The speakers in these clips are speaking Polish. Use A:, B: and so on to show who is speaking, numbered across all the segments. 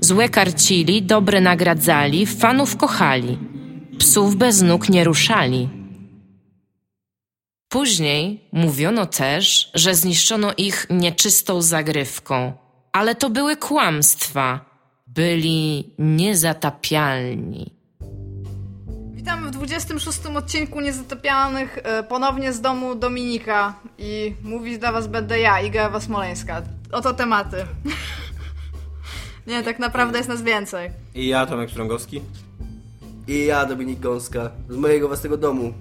A: Złe karcili, dobre nagradzali, fanów kochali. Psów bez nóg nie ruszali. Później mówiono też, że zniszczono ich nieczystą zagrywką, ale to były kłamstwa. Byli niezatapialni.
B: Witamy w 26 odcinku Niezatapianych e, ponownie z domu Dominika i mówić dla was będę ja, Iga Ewa Smoleńska. Oto tematy. Nie, tak naprawdę jest nas więcej.
C: I ja, Tomek Strągowski.
D: I ja, Dominik Gąska, z mojego własnego domu.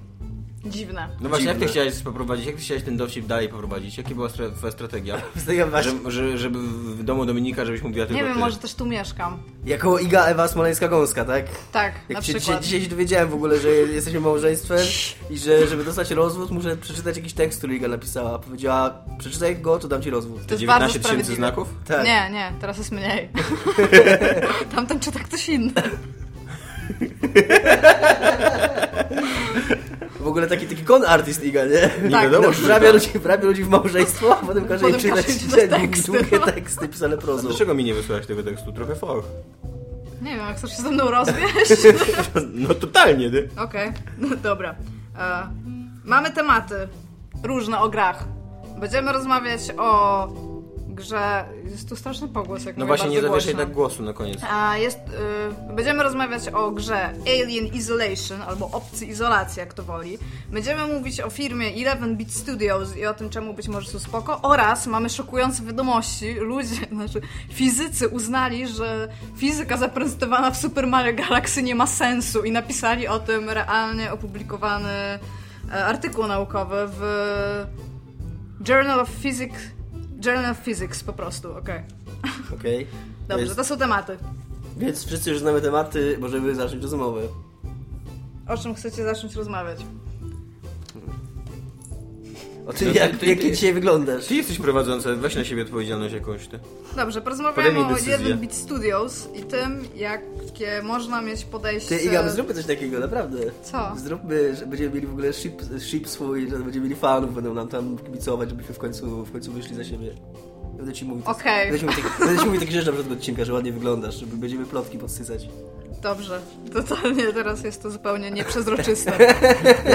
B: Dziwne.
C: No właśnie, jak ty
D: Dziwne.
C: chciałeś poprowadzić, jak ty chciałeś ten dowcip dalej poprowadzić? Jaka była stra- twoja strategia?
D: Wstaję właśnie,
C: Że, że, żeby w domu Dominika, żebyś mówiła tylko
B: Nie wiem,
C: ty.
B: może też tu mieszkam.
D: jako Iga Ewa Smoleńska-Gąska, tak?
B: Tak, na
D: Jak się dzisiaj,
B: przykład.
D: dzisiaj się dowiedziałem w ogóle, że jesteśmy małżeństwem i że żeby dostać rozwód, muszę przeczytać jakiś tekst, który Iga napisała. Powiedziała, przeczytaj go, to dam ci rozwód.
B: To jest bardzo
C: 19 tysięcy
B: sprawiedliwe.
C: znaków?
D: Tak.
B: Nie, nie, teraz jest mniej. Tamten czyta ktoś inny.
D: W ogóle taki taki kon artist Iga, nie? no,
C: Nie
B: Tak,
C: wiadomo, czy
D: Wrabia
C: to-
D: ludzi, wrabia ludzi w małżeństwo, a potem każe jej
B: Potem każe
D: czytać
B: jej Znaczy- czytać
D: te
B: teksty.
D: długie teksty pisane prozą.
C: No, Dlaczego mi nie wysłałeś tego tekstu? Trochę foch.
B: Nie wiem, jak chcesz się ze mną rozwieść?
C: No totalnie, ty.
B: Okej, no dobra. E, mamy tematy różne o grach. Będziemy rozmawiać o grze. Jest tu straszny pogłos, jak
C: No
B: mówię,
C: właśnie, nie
B: bardzo
C: zawieszaj
B: głośno.
C: tak głosu na koniec.
B: A jest, y, będziemy rozmawiać o grze Alien Isolation albo Obcy Izolacja, jak to woli. Będziemy mówić o firmie 11-bit Studios i o tym, czemu być może są spoko. Oraz mamy szokujące wiadomości. Ludzie, znaczy fizycy uznali, że fizyka zaprezentowana w Super Mario Galaxy nie ma sensu i napisali o tym realnie opublikowany e, artykuł naukowy w Journal of Physics. Journal of Physics po prostu, okej.
D: Okej.
B: Dobrze,
D: Jest-
B: to są tematy.
D: Więc wszyscy już znamy tematy, możemy zacząć rozmowę.
B: O czym chcecie zacząć rozmawiać?
D: O tym,
C: No to-
B: tak,
D: jak,
C: to-
D: jak
C: to-
D: ty dzisiaj wyglądasz.
C: Ty jesteś prowadzący, weź na siebie odpowiedzialność jakąś, ty.
B: Dobrze, porozmawiamy
C: Podejmij
B: o
C: decyzję.
B: 1-bit Studios i tym, jakie można mieć podejście...
D: Ty, Iga, zróbmy coś takiego, naprawdę.
B: Co?
D: Zróbmy, że będziemy mieli w ogóle ship, ship swój, że będziemy mieli fanów, będą nam tam kibicować, żebyśmy w końcu, w końcu wyszli za siebie. Będę ci mówił,
B: Okej.
D: będę ci mówił, tak- będę ci mówił takie rzeczy na początku odcinka, że ładnie wyglądasz, żeby będziemy plotki podsycać.
B: Dobrze, totalnie teraz jest to zupełnie nieprzezroczyste.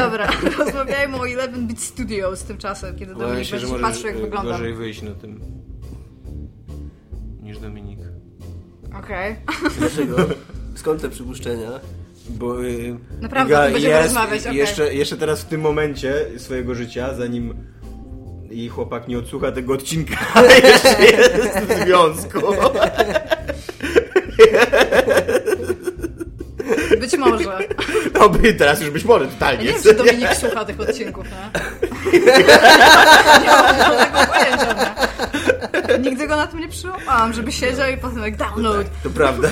B: Dobra, rozmawiajmy o 11-bit Studios tymczasem, kiedy
C: Obawiam
B: Dominik
C: się, że
B: będzie
C: możesz
B: patrzył, jak
C: e,
B: wygląda.
C: gorzej wyjść na tym niż Dominik.
B: Okej.
D: Dlaczego? Skąd te przypuszczenia?
C: Bo, y,
B: Naprawdę,
C: Iga
B: o tym będziemy
C: jest
B: rozmawiać,
C: i
B: okej.
C: jeszcze, jeszcze teraz w tym momencie swojego życia, zanim jej chłopak nie odsłucha tego odcinka, jeszcze jest w związku.
B: Być może.
C: No by teraz już być może,
B: Ja
C: totalnie.
B: No nie wiem, czy Dominik słucha tych odcinków, no. Nie mam żadnego pojęcia, no. Nigdy go na tym nie przyłapałam, żeby siedział i potem jak download.
C: To prawda.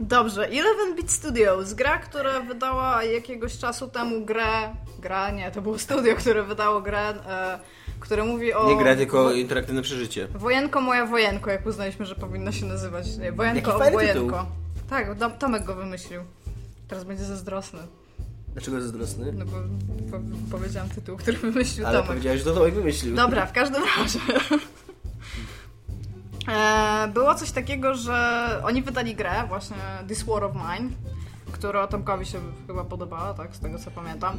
B: Dobrze, 11-bit Studios, gra, która wydała jakiegoś czasu temu grę, gra, nie, to było studio, które wydało grę, e, które mówi o...
C: Nie gra, tylko
B: wo-
C: interaktywne przeżycie.
B: Wojenko moja wojenko, jak uznaliśmy, że powinno się nazywać, nie,
D: Jaki
B: wojenko o
D: fajny
B: wojenko.
D: tytuł.
B: Tak, Dom- Tomek go wymyślił. Teraz będzie zazdrosny,
D: Dlaczego jest zazdrosny?
B: no bo po, powiedziałam tytuł, który wymyślił
D: Ale
B: Tomek.
D: powiedziałeś, że to Tomek wymyślił.
B: Dobra, no w każdym razie. E, Było coś takiego, że oni wydali grę, właśnie This War of Mine, która Tomkowi się chyba podobała, tak, z tego co pamiętam.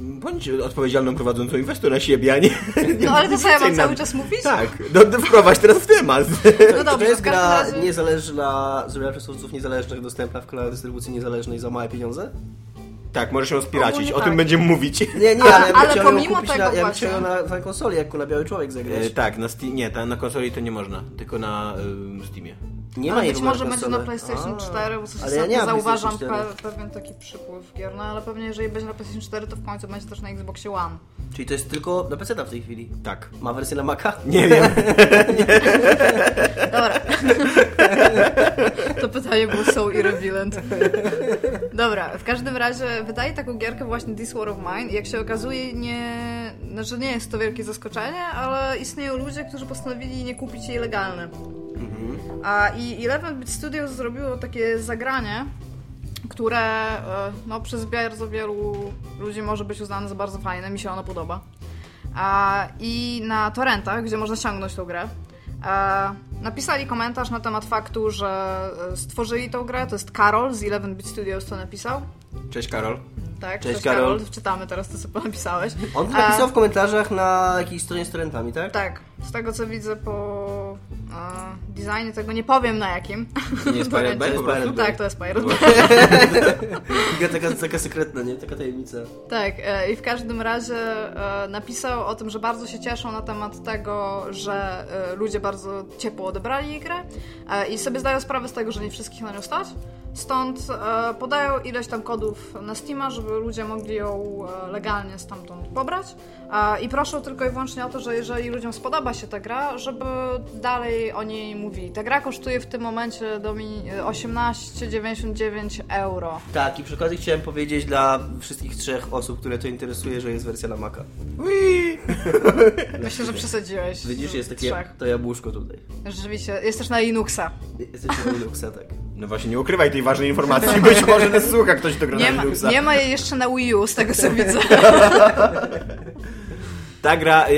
C: Bądź odpowiedzialną prowadzącą inwestor na siebie, a nie... nie-
B: No ale to co ja mam
C: więcej
B: cały
C: na-
B: czas mówić?
C: Tak, no, no, wprowadź teraz w temat.
B: No
D: to
B: dobrze,
D: jest
B: w każdym
D: gra
B: razie...
D: niezależna, zrobiona przez twórców niezależnych, dostępna w kanale dystrybucji niezależnej za małe pieniądze?
C: Tak, możesz ją spiracić,
B: Ogólnie
C: o tym
B: tak.
C: będziemy mówić.
D: Nie, nie,
B: A-
D: ale,
B: ale
D: chciałem ją
B: pomimo
D: kupić
B: tego
D: na, ja bym
B: właśnie.
D: chciał ją na, na konsoli, jak na Biały Człowiek zagrać.
C: E, tak, na Steam, nie, ta, na konsoli to nie można, tylko na ym, Steamie.
D: Nie
B: Ale
D: ma jej
B: być
D: w ogóle
B: może
D: na
B: będzie na
D: konsolę.
B: PlayStation
D: E. A,
B: 4, bo coś
D: ale ja nie
B: ostatnio
D: mam
B: zauważam
D: PlayStation
B: pe, pewien taki przypływ gier, no ale pewnie jeżeli będzie na PlayStation 4, to w końcu będzie też na Xboxie One.
D: Czyli to jest tylko na PC E w tej chwili.
C: Tak.
D: Ma wersję na Maca?
C: Nie wiem.
B: Dobra. to pytanie było so irrelevant. Dobra, w każdym razie wydaje taką gierkę właśnie This War of Mine i jak się okazuje nie... Znaczy nie jest to wielkie zaskoczenie, ale istnieją ludzie, którzy postanowili nie kupić jej legalnie. A i Eleven Bit Studios zrobiło takie zagranie, które e, no, przez bardzo wielu ludzi może być uznane za bardzo fajne, mi się ono podoba. A, I na torrentach, gdzie można ściągnąć tą grę, e, napisali komentarz na temat faktu, że e, stworzyli tą grę. To jest Karol z 11-bit Studios to napisał.
C: Cześć Karol.
B: Tak,
D: Cześć, Karol.
B: Czytamy teraz to, co napisałeś.
D: On to
B: A-
D: napisał w komentarzach na jakiejś stronie z torrentami, tak?
B: Tak, z tego co widzę po e, designie tego nie powiem na jakim.
C: Nie jest Pirate Bay po prostu?
B: Tak, to jest Pirate Bay.
D: Taka, taka, taka sekretna, nie? Taka tajemnica.
B: Tak, e, i w każdym razie e, napisał o tym, że bardzo się cieszą na temat tego, że e, ludzie bardzo ciepło odebrali jej grę e, i sobie zdają sprawę z tego, że nie wszystkich na nią stać. Stąd e, podają ileś tam kodów na Steama, żeby ludzie mogli ją e, legalnie stamtąd pobrać. E, I proszą tylko i wyłącznie o to, że jeżeli ludziom spodoba się ta gra, żeby dalej o niej mówili. Ta gra kosztuje w tym momencie do mi- e, 18,99 euro.
D: Tak, i przy okazji chciałem powiedzieć dla wszystkich trzech osób, które to interesuje, że jest wersja na Maca.
B: Myślę, że przesadziłeś.
D: Widzisz, jest takie
B: Trzech.
D: to jabłuszko tutaj.
B: Rzeczywiście, jest też na Linuxa.
D: Jesteś na Linuxa, tak.
C: No właśnie, nie ukrywaj tej ważnej informacji. Być może nas słucha ktoś, kto gra
B: Nie
C: na
B: ma,
C: Linuxa.
B: nie ma jej jeszcze na Wii U, z tego co widzę.
C: Ta gra, e,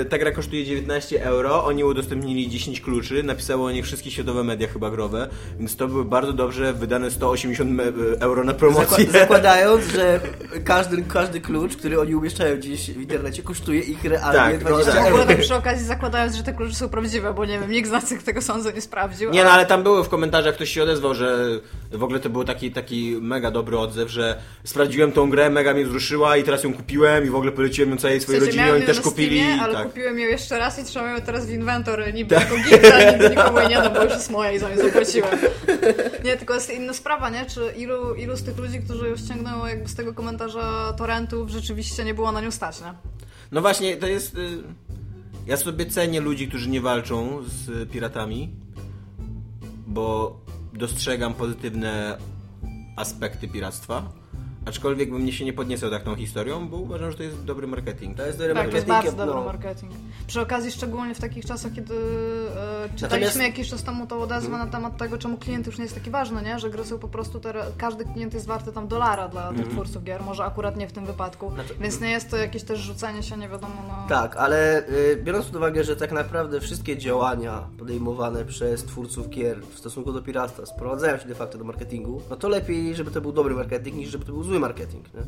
C: e, ta gra kosztuje 19 euro, oni udostępnili 10 kluczy, napisało o nich wszystkie światowe media chyba growe, więc to były bardzo dobrze wydane 180 me- e, euro na promocję.
D: Zakła- zakładając, że każdy, każdy klucz, który oni umieszczają gdzieś w internecie, kosztuje ich realnie
C: Tak, no
D: 20
C: tak.
B: W ogóle
D: euro.
B: tak przy okazji zakładając, że te klucze są prawdziwe, bo nie wiem, nikt z nas tego sądu nie sprawdził.
C: Nie no,
B: ale-
C: ale tam były w komentarzach, ktoś się odezwał, że w ogóle to był taki, taki mega dobry odzew, że sprawdziłem tą grę, mega mnie wzruszyła i teraz ją kupiłem i w ogóle poleciłem ją całej swojej rodzinie,
B: miałem
C: oni
B: ją
C: też
B: na
C: kupili.
B: Steamie, ale
C: tak.
B: kupiłem ją jeszcze raz i trzymam ją teraz w inwentory, niby jako gifta, nigdy nikomu jej nie dam, bo już jest moja i za nią zapłaciłem. Nie, tylko jest inna sprawa, nie? Czy ilu, ilu z tych ludzi, którzy ją ściągnęło jakby z tego komentarza torrentów, rzeczywiście nie było na nią stać, nie?
C: No właśnie, to jest... y, Ja sobie cenię ludzi, którzy nie walczą z y, piratami, bo dostrzegam pozytywne aspekty piractwa. Aczkolwiek bym się nie podniecał taką historią, bo uważam, że to jest dobry marketing.
D: To jest dobry
B: Tak, to jest
D: marketing,
B: bardzo
D: no.
B: dobry marketing. Przy okazji, szczególnie w takich czasach, kiedy e, czytaliśmy
D: Natomiast- Mhm.
B: jakiś czas temu tą odezwę na temat tego, czemu klient już nie jest taki ważny, nie? Że gry są po prostu teraz, każdy klient jest warty tam dolara dla tych
D: Mhm.
B: twórców gier, może akurat nie w tym wypadku, więc nie jest to jakieś też rzucenie się nie wiadomo no, na...
D: Znaczy- Tak, ale y, biorąc pod uwagę, że tak naprawdę wszystkie działania podejmowane przez twórców gier w stosunku do piractwa sprowadzają się de facto do marketingu, no to lepiej, żeby to był dobry marketing, niż żeby to był zły marketing. Nie?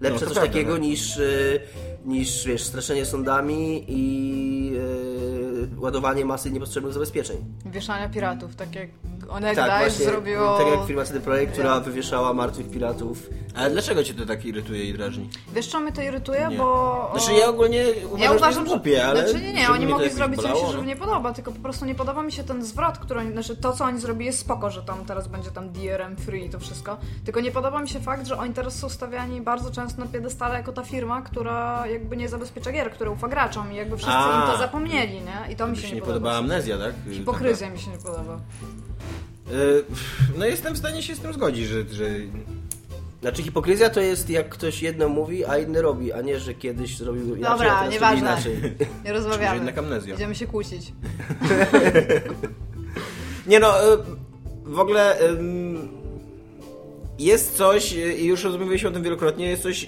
D: Lepsze
C: No, to
D: coś
C: prawda,
D: takiego
C: no.
D: niż, y, niż wiesz, straszenie sądami i y, ładowanie masy niepotrzebnych zabezpieczeń.
B: Wieszania piratów, tak jak Onegdaj zrobiło...
D: tak jak firma CD Projekt, która wywieszała martwych piratów.
C: Ale dlaczego cię to tak irytuje i drażni?
B: Wiesz, co mnie to irytuje,
C: Nie.
B: bo...
C: Znaczy ja ogólnie uważam,
B: Ja uważam,
C: że to głupie, ale...
B: Znaczy nie, nie,
C: żeby
B: oni
C: mnie to
B: mogli
C: jakoś
B: zrobić, co mi
C: bolało,
B: się
C: no.
B: żywnie podoba, tylko po prostu nie podoba mi się ten zwrot, który oni, znaczy to, co oni zrobili jest spoko, że tam teraz będzie tam DRM free i to wszystko, tylko nie podoba mi się fakt, że oni teraz są stawiani bardzo często na piedestale jako ta firma, która jakby nie zabezpiecza gier, która ufa graczom i jakby wszyscy
C: A.
B: im to zapomnieli, nie? I to mi
C: Mi
B: się,
C: się nie podobała amnezja, tak?
B: Hipokryzja mi się nie podoba.
C: Taka. Y, No jestem w stanie się z tym zgodzić, że... że...
D: Znaczy hipokryzja to jest jak ktoś jedno mówi, a inny robi, a nie, że kiedyś zrobił inaczej,
B: Dobra,
D: a teraz robi
B: nieważne.
D: inaczej.
B: Nie rozmawiamy.
C: jednak amnezja.
B: Będziemy się kłócić.
C: Nie no, y, w ogóle... ym, Jest coś, y, i już rozmawialiśmy o tym wielokrotnie, jest coś y,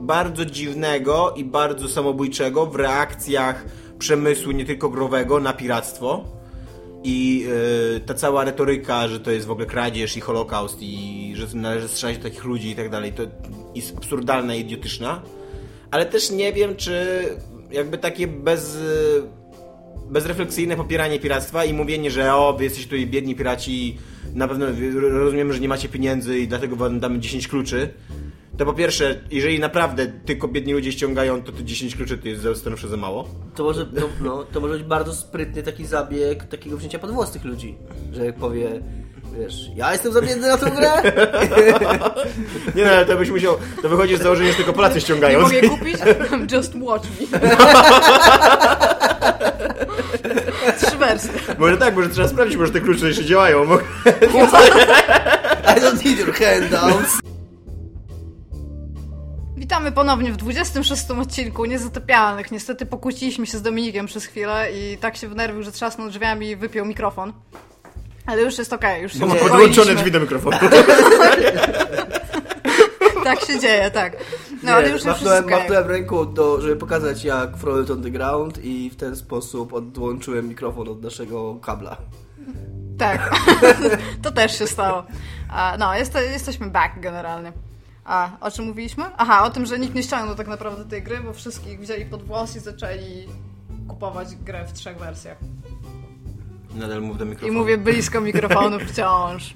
C: bardzo dziwnego i bardzo samobójczego w reakcjach przemysłu nie tylko growego na piractwo. I y, ta cała retoryka, że to jest w ogóle kradzież i holokaust i że należy strzelać do takich ludzi i tak dalej, to jest absurdalna i idiotyczna. Ale też nie wiem, czy jakby takie bez, y, bezrefleksyjne popieranie piractwa i mówienie, że o, wy jesteście tutaj biedni piraci, na pewno wy- rozumiemy, że nie macie pieniędzy i dlatego wam damy 10 kluczy. To po pierwsze, jeżeli naprawdę tylko biedni ludzie ściągają, to te 10 kluczy to jest zawsze za mało.
D: To może, to, no, to może być bardzo sprytny taki zabieg takiego wzięcia pod włos tych ludzi. Że jak powie, wiesz, ja jestem za biedny na tą grę,
C: Nie no, ale to byś musiał, to wychodzi z założenia, że tylko Polacy
B: Nie
C: ściągają.
B: mogę kupić? Just watch me. Trzy wersje.
C: Może tak, może trzeba sprawdzić, może te klucze jeszcze działają. Bo...
D: I don't need your handouts.
B: Witamy ponownie w 26 odcinku Niezatopialnych. Niestety pokłóciliśmy się z Dominikiem przez chwilę i tak się wnerwił, że trzasnął drzwiami i wypiął mikrofon. Ale już jest okej, już się
C: Bo ma
B: uspokoiliśmy.
C: podłączone drzwi do mikrofonu.
B: Tak się dzieje, tak. No,
D: Nie,
B: ale już jest
D: machnąłem,
B: okej.
D: machnąłem ręką, do, żeby pokazać jak Frolic on the ground i w ten sposób odłączyłem mikrofon od naszego kabla.
B: Tak, to też się stało. A, no, jest, jesteśmy back generalnie. A o czym mówiliśmy? Aha, o tym, że nikt nie ściągnął tak naprawdę tej gry, bo wszystkich wzięli pod włos i zaczęli kupować grę w trzech wersjach.
C: Nadal mów do
B: I
C: mikrofonu.
B: mówię blisko mikrofonu wciąż.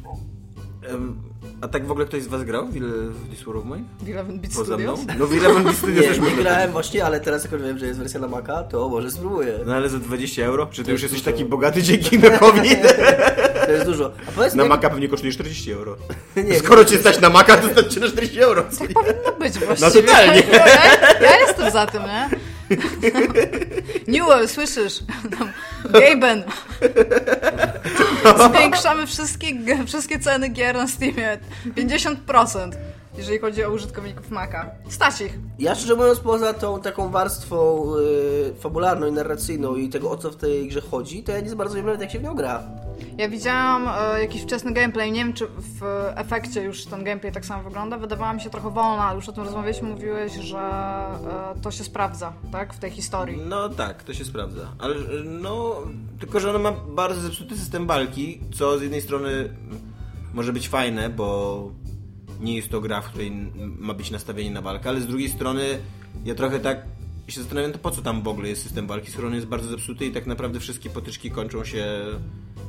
C: Em, A tak w ogóle ktoś z was grał w, ile- w Dishonored Mine?
B: Eleven Beat
C: Poza mną?
B: Studios?
C: No w Eleven Beat
D: Nie,
C: Studios też
D: nie
C: można. tak
D: grałem właśnie, ale teraz jak już wiem, że jest wersja na Maca, to może spróbuję.
C: No ale za 20 euro? Czy ty już jesteś
D: dużo.
C: taki bogaty dzięki Mekowi?
D: To jest dużo. A powiedz
C: Na
D: mi,
C: Maka pewnie kosztuje 40 euro.
D: Nie,
C: Skoro cię stać na Maka, to stać cię na 40 euro.
B: Tak powinno być właściwie.
C: No totalnie.
B: Ja- Ja jestem za tym, nie? Newell, słyszysz? Gaben. Zwiększamy wszystkie, g- wszystkie ceny gier na Steamie. 50%. Jeżeli chodzi o użytkowników Maca. Stać ich.
D: Ja szczerze mówiąc, poza tą taką warstwą y, fabularną i narracyjną i tego, o co w tej grze chodzi, to ja nie za bardzo wiem nawet, jak się w nią gra.
B: Ja widziałam e, jakiś wczesny gameplay, nie wiem czy w efekcie już ten gameplay tak samo wygląda. Wydawała mi się trochę wolna, ale już o tym rozmawialiśmy, mówiłeś, że e, to się sprawdza, tak? W tej historii.
C: No tak, to się sprawdza. Ale y, no, tylko że ona ma bardzo zepsuty system walki, co z jednej strony mm, może być fajne, bo nie jest to gra, w której mm, ma być nastawienie na walkę, ale z drugiej strony ja trochę tak się zastanawiam, to po co tam w ogóle jest system walki, skoro on jest bardzo zepsuty i tak naprawdę wszystkie potyczki kończą się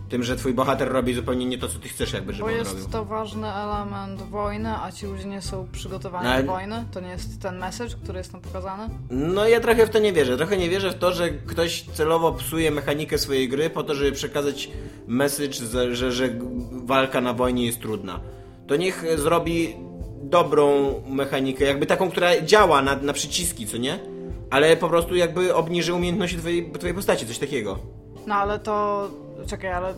C: tym, że twój bohater robi zupełnie nie to, co ty chcesz jakby, żeby
B: Bo
C: on
B: jest
C: robił.
B: to ważny element wojny, a ci ludzie nie są przygotowani
C: No, ale-
B: do wojny. To nie jest ten message, który jest tam pokazany.
C: No ja trochę w to nie wierzę. Trochę nie wierzę w to, że ktoś celowo psuje mechanikę swojej gry po to, żeby przekazać message, że, że, że walka na wojnie jest trudna. To niech zrobi dobrą mechanikę, jakby taką, która działa na, na przyciski, co nie? Ale po prostu jakby obniży umiejętności twojej, twojej postaci, coś takiego.
B: No ale to. Czekaj, ale.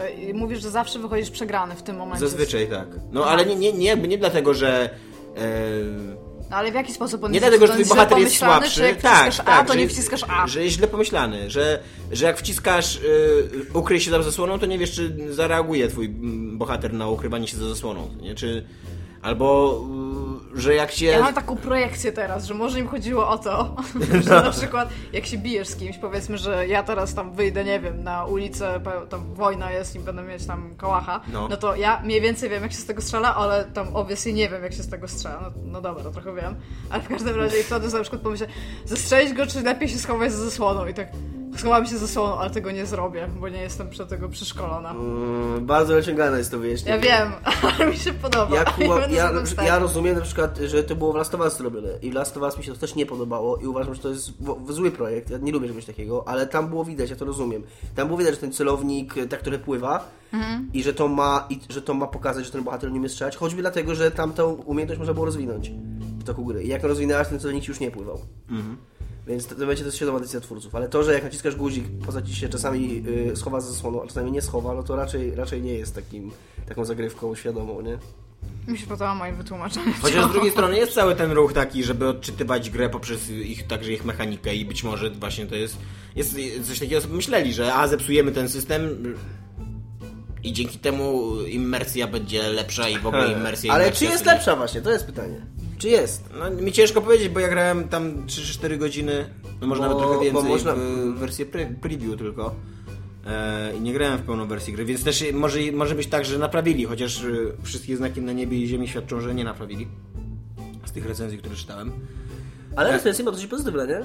B: e, i Mówisz, że zawsze wychodzisz przegrany w tym momencie.
C: Zazwyczaj tak. No ale nie, nie, nie, jakby nie dlatego, że... E,
B: No, ale w jaki sposób on
C: Nie
B: jest
C: dlatego, że
B: to
C: twój
B: jest źle
C: bohater jest
B: pomyślany,
C: słabszy.
B: Czy jak
C: tak,
B: wciskasz
C: tak,
B: A, to
C: że
B: nie
C: jest-
B: wciskasz A.
C: Że jest źle pomyślany, że, że jak wciskasz y, ukryj się za zasłoną, to nie wiesz, czy zareaguje twój mm, bohater na ukrywanie się za zasłoną. Nie? Czy, albo y, że jak się.
B: Ja mam tak taką projekcję teraz, że może im chodziło o to, że na przykład jak się bijesz z kimś, powiedzmy, że ja teraz tam wyjdę, nie wiem, na ulicę, pe- tam wojna jest i będę mieć tam kałacha,
C: No.
B: no. to ja mniej więcej wiem, jak się z tego strzela, ale tam obviously nie wiem, jak się z tego strzela. No, no dobra, trochę wiem, ale w każdym razie i wtedy sobie na przykład pomyślę, zestrzelić go, czy lepiej się schować za zasłoną i tak... Schowałam się za zasłoną, ale tego nie zrobię, bo nie jestem przed tego przeszkolona.
D: Mm, bardzo wyciągane jest to wyjaśnienie.
B: Ja wiem, ale mi się podoba.
D: Ja, kuła,
B: będę
D: ja,
B: za tym stać.
D: ja rozumiem na przykład, że to było w Last of Us robione i w Last of Us mi się to też nie podobało i uważam, że to jest w- w- zły projekt, ja nie lubię czegoś takiego, ale tam było widać, ja to rozumiem. Tam było widać, że ten celownik, e, tak który pływa i, że to ma, i że to ma pokazać, że ten bohater nie umie strzelać, choćby dlatego, że tamtą umiejętność można było rozwinąć w toku gry. I jak ją rozwinęłaś, ten celownik ci już nie pływał. Więc to, to będzie też świadoma decyzja twórców, ale to, że jak naciskasz guzik, poza ci się czasami y, schowa za zasłoną, a czasami nie schowa, no to raczej, raczej nie jest takim, taką zagrywką świadomą, nie?
B: Mi się podoba moje wytłumaczenie.
C: Chociaż z drugiej strony jest cały ten ruch taki, żeby odczytywać grę poprzez ich, także ich mechanikę i być może właśnie to jest, jest coś takiego, sobie myśleli, że a zepsujemy ten system i dzięki temu immersja będzie lepsza i w ogóle immersja
D: Ale
C: immersja,
D: czy jest
C: co nie?
D: lepsza właśnie? To jest pytanie. Czy jest?
C: No, mi ciężko powiedzieć, bo ja grałem tam 3 czy 4 godziny, no może
D: Bo-
C: nawet trochę
D: bo
C: więcej,
D: można-
C: w wersję pre, preview tylko. E, I nie grałem w pełną wersję gry, więc też może, może być tak, że naprawili, chociaż e, wszystkie znaki na niebie i ziemi świadczą, że nie naprawili. Z tych recenzji, które czytałem.
B: Tak.
D: Ale recenzja ma dosyć pozytywne, nie?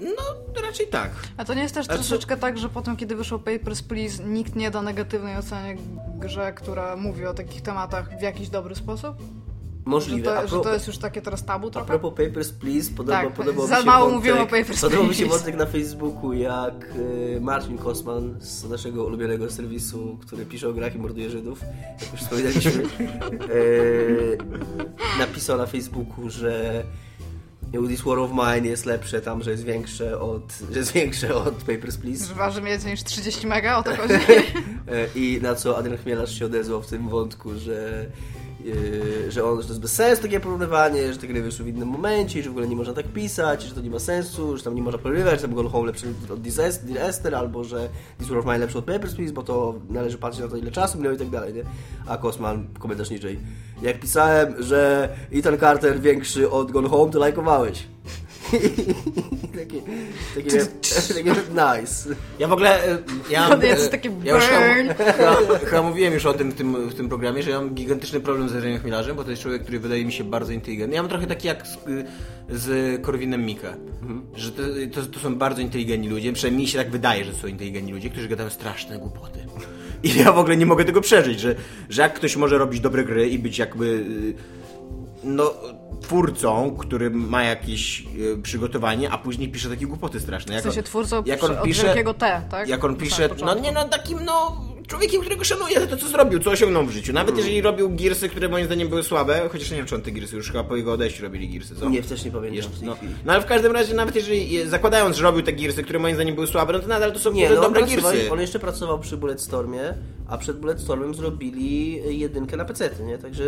C: No, to raczej tak.
B: A to nie jest też troszeczkę tak, że potem, kiedy wyszło Papers, Please, nikt nie da negatywnej oceny grze, która mówi o takich tematach w jakiś dobry sposób? Że
D: Możliwe.
B: No to,
D: A
B: że to
D: pro-
B: jest już takie teraz tabu
D: A
B: trochę?
D: propos Papers, Please, podoba,
B: Tak,
D: podobał
B: za
D: mi się
B: mało
D: wątek,
B: mówiłem o Papers,
D: Podobał mi się
B: Please.
D: wątek na Facebooku, jak y, Marcin Kosman z naszego ulubionego serwisu, który pisze o grach i morduje Żydów, jak już wspominaliśmy, y, napisał na Facebooku, że This War of Mine jest lepsze tam, że jest większe od, że jest większe od Papers, Please.
B: Że waży więcej niż 30 mega, o to chodzi.
D: E, I na co Adrian Chmielarz się odezwał w tym wątku, że, e, że on, że to jest bez sensu takie porównywanie, że te gry wyszły w innym momencie, i że w ogóle nie można tak pisać, i że to nie ma sensu, że tam nie można porównywać, że tam Gone Home lepszy od Disaster, Dear Esther, albo że This War of Mine lepszy od Papers, Please, bo to należy patrzeć na to ile czasu minęło i tak dalej, nie? A Kosman, komentarz niżej. Jak pisałem, że Ethan Carter większy od Gone Home, to lajkowałeś. takie, takie, takie, nice.
C: Ja w ogóle. e, Ja,
B: To jest
C: e,
B: No, taki
C: ja już
B: burn.
C: chyba, chyba, chyba mówiłem już o tym w, tym w tym programie, że ja mam gigantyczny problem z Adrianem Chmielarzem, bo to jest człowiek, który wydaje mi się bardzo inteligentny. Ja mam trochę taki jak z, y, z Korwinem Mika, że to, to, to są bardzo inteligentni ludzie, przynajmniej mi się tak wydaje, że to są inteligentni ludzie, którzy gadają straszne głupoty. I ja w ogóle nie mogę tego przeżyć, że, że jak ktoś może robić dobre gry i być jakby. y, no, twórcą, który ma jakieś y, przygotowanie, a później pisze takie głupoty straszne. Jak
B: W sensie
C: on-
B: twórcą od wielkiego T, tak?
C: Jak on
B: Na
C: pisze,
B: początku.
C: no nie no, takim no człowiekiem, którego szanuję za to, co zrobił, co osiągnął w życiu.
B: Mhm.
C: Nawet jeżeli robił girsy, które moim zdaniem były słabe, chociaż nie wiem, czy on te girsy już chyba po jego odejściu robili girsy, co?
D: Nie, też nie pamiętam
C: Jeszcze-
D: w tej
C: no,
D: chwili.
C: no ale w każdym razie, nawet jeżeli, e, zakładając, że robił te girsy, które moim zdaniem były słabe, no to nadal to są
D: Nie,
C: dobre-
D: no on,
C: dobre
D: pracował,
C: girsy.
D: on jeszcze pracował przy Bulletstormie, a przed Bulletstormem zrobili jedynkę na PC, nie? Także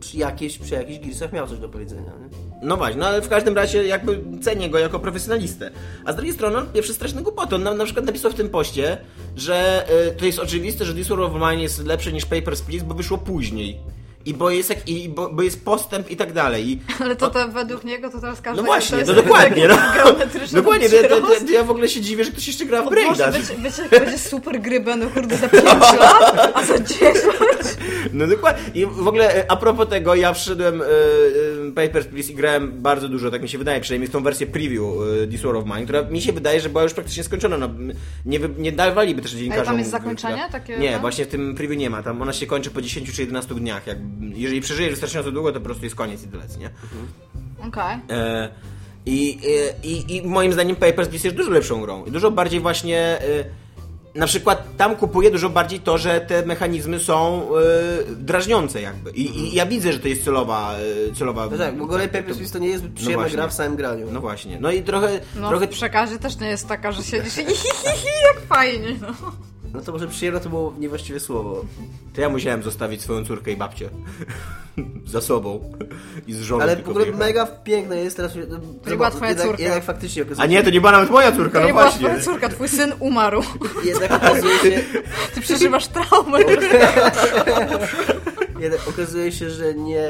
D: przy, jakieś, przy jakichś girsach miał coś do powiedzenia, nie?
C: No właśnie, no ale w każdym razie jakby cenię go jako profesjonalistę. A z drugiej strony on pierwszy straszny głupoty. On nam na przykład napisał w tym poście, że y, to jest oczywiste, że This War of Mine jest lepsze niż Papers, Please, bo wyszło później. I bo jest, jak, i bo, bo jest postęp i tak dalej. I,
B: Ale to, to według niego to teraz każdy
C: no właśnie,
B: to
C: no
B: jest
C: dokładnie. No,
B: taki geometryczny
C: dokładnie, to, to,
B: przyrost.
C: to, to ja w ogóle się dziwię, że ktoś jeszcze gra w
B: No Może
C: Braindas.
B: być, być jak będzie super gry, będą kurde za 5 lat, a za 10 lat.
C: No dokładnie. I w ogóle e, a propos tego, ja wszedłem e, e, Papers, Please i grałem bardzo dużo, tak mi się wydaje, przynajmniej w tą wersję preview e, This War of Mine, która mi się wydaje, że była już praktycznie skończona. No, m, nie, wy- nie dawaliby też dziennikarzom... tak?
B: tam jest zakończenie takie,
C: Nie,
B: no?
C: właśnie w tym preview nie ma. Tam ona się kończy po 10 czy 11 dniach. Jak, jeżeli przeżyjesz wystarczająco długo, to po prostu jest koniec i tyle, co nie?
B: Okej.
C: E, I, i, i, I moim zdaniem Papers, Please jest dużo lepszą grą. I Dużo bardziej właśnie... e, na przykład tam kupuję dużo bardziej to, że te mechanizmy są e, drażniące jakby. I, I ja widzę, że to jest celowa... e, celowa
D: No tak, bo Golej Papers Please to nie jest przyjemna
C: właśnie.
D: gra w samym graniu.
C: No właśnie. No i trochę...
B: No
C: trochę
B: w przekazie też nie jest taka, że siedzisz i jak fajnie, no.
D: No to może przyjemna to było niewłaściwe słowo.
C: To ja musiałem zostawić swoją córkę i babcię. Za sobą. I z żoną
D: Ale w
C: tylko
D: ogóle
C: wyjechałem.
D: mega piękne jest teraz...
B: była twoja
D: jednak,
B: córka.
D: Jednak faktycznie
C: A
D: okazuje
C: nie, to nie była nawet moja córka,
B: To
C: no
B: nie była
C: właśnie.
B: twoja córka, twój syn umarł.
D: Jednak okazuje się...
B: Ty przeżywasz traumę.
D: Jednak tak, okazuje się, że nie,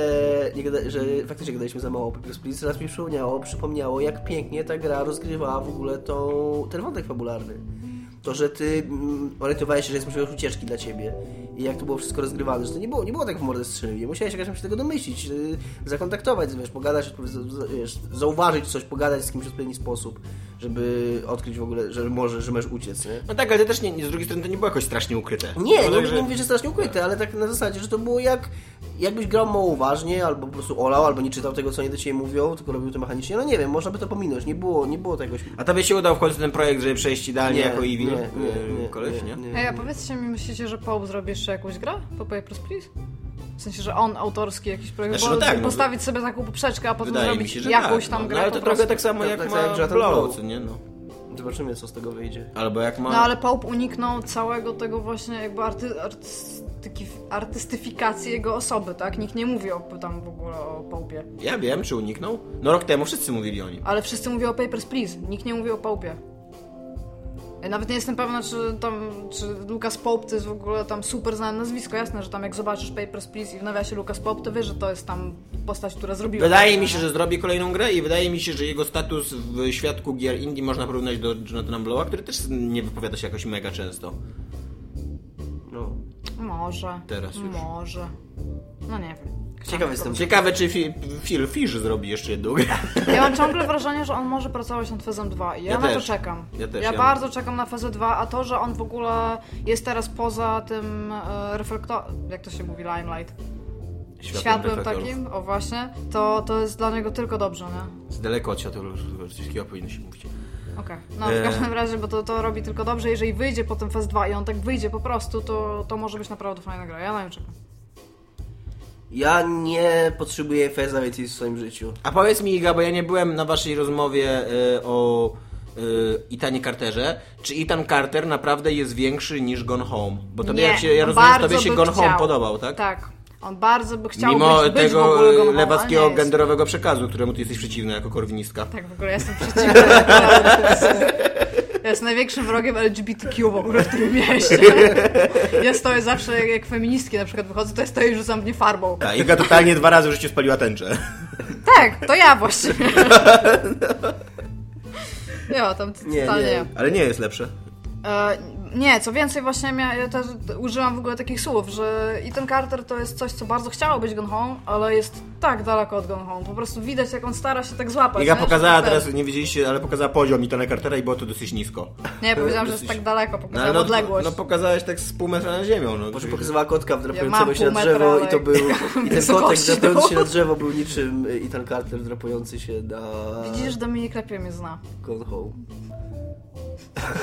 D: nie gada, że faktycznie gadaliśmy za mało o Papers, Please. Teraz mi przypomniało, przypomniało, jak pięknie ta gra rozgrywała w ogóle tą, ten wątek fabularny. To, że ty mm, orientowałeś się, że jest możliwość ucieczki dla ciebie i jak to było wszystko rozgrywane, że to nie było, nie było tak w mordę strzeliwie. Musiałeś jakoś tam się tego domyślić, y, zakontaktować, wiesz, pogadać, odpowiedz- wiesz, zauważyć coś, pogadać z kimś w odpowiedni sposób, żeby odkryć w ogóle, że może, że możesz uciec, nie?
C: No tak, ale to też nie, z drugiej strony to nie było jakoś strasznie ukryte.
D: Nie,
C: To
D: nie,
C: tak, że-
D: nie mówię, że strasznie ukryte, ale tak na zasadzie, że to było jak jakbyś grał mało uważnie, albo po prostu olał, albo nie czytał tego, co nie do ciebie mówią, tylko robił to mechanicznie. No nie wiem, można by to pominąć, nie było, nie było tego.
C: A tobie się udał w końcu ten projekt, żeby przejść idealnie
D: Nie,
C: jako
D: nie,
C: Iwin?
D: nie,
C: Yy,
D: nie,
C: Koleś, nie?
B: Ej, a powiedzcie mi, myślicie, że Pope zrobi jeszcze jakąś grę po Papers, Please? W sensie, że on autorski jakiś projekt,
C: Znaczy, no
B: bo
C: tak, no,
B: postawić sobie taką poprzeczkę, a potem
C: Wydaje mi
B: zrobić
C: się, że
B: jakąś
C: tak,
B: tam
C: no.
B: grę
C: No, ale
B: po
C: to
B: prostu.
C: trochę tak samo
D: Tak,
C: jak
D: tak
C: ma
D: samo jak Jonathan
C: Blow,
D: Blow.
C: co nie? No.
D: Zobaczymy, co z tego wyjdzie.
C: Albo jak ma...
B: No ale Pope uniknął całego tego właśnie jakby arty, artystyki, artystyfikacji jego osoby, tak? Nikt nie mówi o, tam w ogóle o Pope'ie.
C: Ja wiem, czy uniknął? No rok temu wszyscy mówili o nim.
B: Ale wszyscy mówią o Papers, Please. Nikt nie mówi o Pope'ie. Ja nawet nie jestem pewna, czy tam, czy Lucas Pope to jest w ogóle tam super znane nazwisko. Jasne, że tam jak zobaczysz Papers, Please i w nawiasie Lucas Pope, to wiesz, że to jest tam postać, która zrobiła.
C: Wydaje mi się, że zrobi kolejną grę i wydaje mi się, że jego status w świadku gier indie można porównać do Jonathana Blowa, który też nie wypowiada się jakoś mega często.
D: No.
B: Może.
C: Teraz już.
B: Może. No nie wiem.
D: Ciekawy jestem.
C: Ciekawe, czy Fi- Phil Fish zrobi jeszcze jedną grę.
B: Ja mam ciągle wrażenie, że on może pracować nad Fezem 2 i ja,
C: Ja
B: na to
C: też.
B: czekam.
C: Ja też,
B: ja
C: ja-
B: bardzo czekam na Fezę 2, a to, że on w ogóle jest teraz poza tym e, reflektor... Jak to się mówi? Limelight.
C: światłem,
B: światłem
C: reflektorów.
B: takim, o właśnie, to, to jest dla niego tylko dobrze, nie?
C: Z daleko od światła reflektorów, coś takiego powinno się mówić.
B: Okej. No,
C: Eee.
B: w każdym razie, bo to, to robi tylko dobrze, jeżeli wyjdzie potem Fest 2 i on tak wyjdzie po prostu, to, to może być naprawdę fajna gra, ja na nią czekam.
D: Ja nie potrzebuję Feza więcej w swoim życiu.
C: A powiedz mi, Iga, bo ja nie byłem na waszej rozmowie y, o y, Itanie Carterze. Czy Itan Carter naprawdę jest większy niż Gone Home? Bo tobie,
B: Nie,
C: jak się, ja
B: on
C: rozumiem, że
B: bardzo
C: tobie się
B: by
C: Gone Home
B: chciał.
C: podobał, tak?
B: Tak. On bardzo by chciał
C: Mimo
B: być, być w
C: tego
B: ogóle
C: y,
B: Gone Home, ale
C: lewackiego
B: nie jest.
C: genderowego przekazu, któremu ty jesteś przeciwny jako korwinistka.
B: Tak, w ogóle ja jestem przeciwna. temu. Ja jestem największym wrogiem LGBTQ w ogóle w tym mieście. Ja stoję zawsze, jak- jak feministki na przykład wychodzą, to ja stoję i rzucam mnie farbą.
C: Ta, Iga totalnie dwa razy w życiu spaliła tęczę.
B: Tak, to ja właściwie. Ja, tam
D: Nie,
B: totalnie
D: nie.
B: ja.
C: Ale nie jest lepsze.
B: E, nie, co więcej, właśnie mia, ja też użyłam w ogóle takich słów, że Ethan Carter to jest coś, co bardzo chciało być Gone Home, ale jest tak daleko od Gone Home. Po prostu widać, jak on stara się tak złapać.
C: Iga
B: nie? Że
C: pokazała
B: to jest-
C: teraz, nie widzieliście, ale pokazała poziom Itana Cartera i było to dosyć nisko.
B: Nie, powiedziałam, że jest
C: dosyć-
B: tak daleko,
C: No,
B: pokazałam
C: ale no,
B: odległość.
C: no pokazałeś tak z pół metra na ziemią. No,
D: Może
C: czyli-
D: pokazywała kotka
B: Ja mam
D: wdrapującego
B: pół
D: się na
B: metra,
D: drzewo
B: ale
D: i to był... I ten kotek
B: wysokości,
D: wdrapujący
B: no.
D: się na drzewo był niczym y, Ethan Carter wdrapujący się na...
B: Widzisz, Dominik lepiej mnie zna.
D: Gone Home.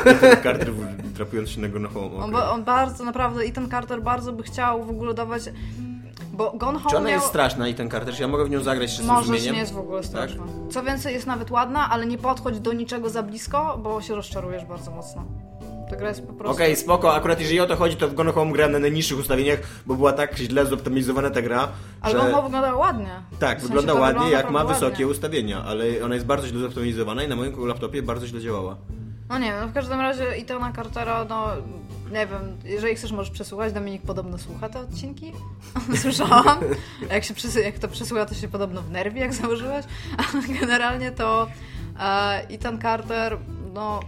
C: Carter w- trapując się na Gone Home.
B: On,
C: okej.
B: ba- on bardzo, naprawdę, Ethan Carter bardzo by chciał w ogóle dawać... Bo Gone Home
C: Czy ona
B: miał...
C: jest straszna i ten Carter? Czy ja mogę w nią zagrać jeszcze z Tak.
B: Możesz,
C: zrozumieniem?
B: nie jest w ogóle straszna. Co więcej, jest nawet ładna, ale nie podchodź do niczego za blisko, bo się rozczarujesz bardzo mocno. Ta gra jest po prostu...
C: Okej, spoko, akurat jeżeli o to chodzi, to w Gone Home grałem na najniższych ustawieniach, bo była tak źle zoptymalizowana ta gra,
B: Ale
C: że...
B: Gone Home wygląda ładnie.
C: Tak,
B: W sensie
C: wygląda
B: to
C: ładnie, jak ma
B: naprawdę
C: wysokie
B: ładnie.
C: ustawienia, ale ona jest bardzo źle zoptymalizowana i na moim laptopie bardzo źle działała.
B: No nie, no w każdym razie Itana Cartera, no... Nie wiem, jeżeli chcesz, możesz przesłuchać. Dominik podobno słucha te odcinki. Słyszałam. A jak, się przesy- jak to przesłucha, to się podobno w nerwie, jak założyłaś. Ale generalnie to e, Ethan Carter, no...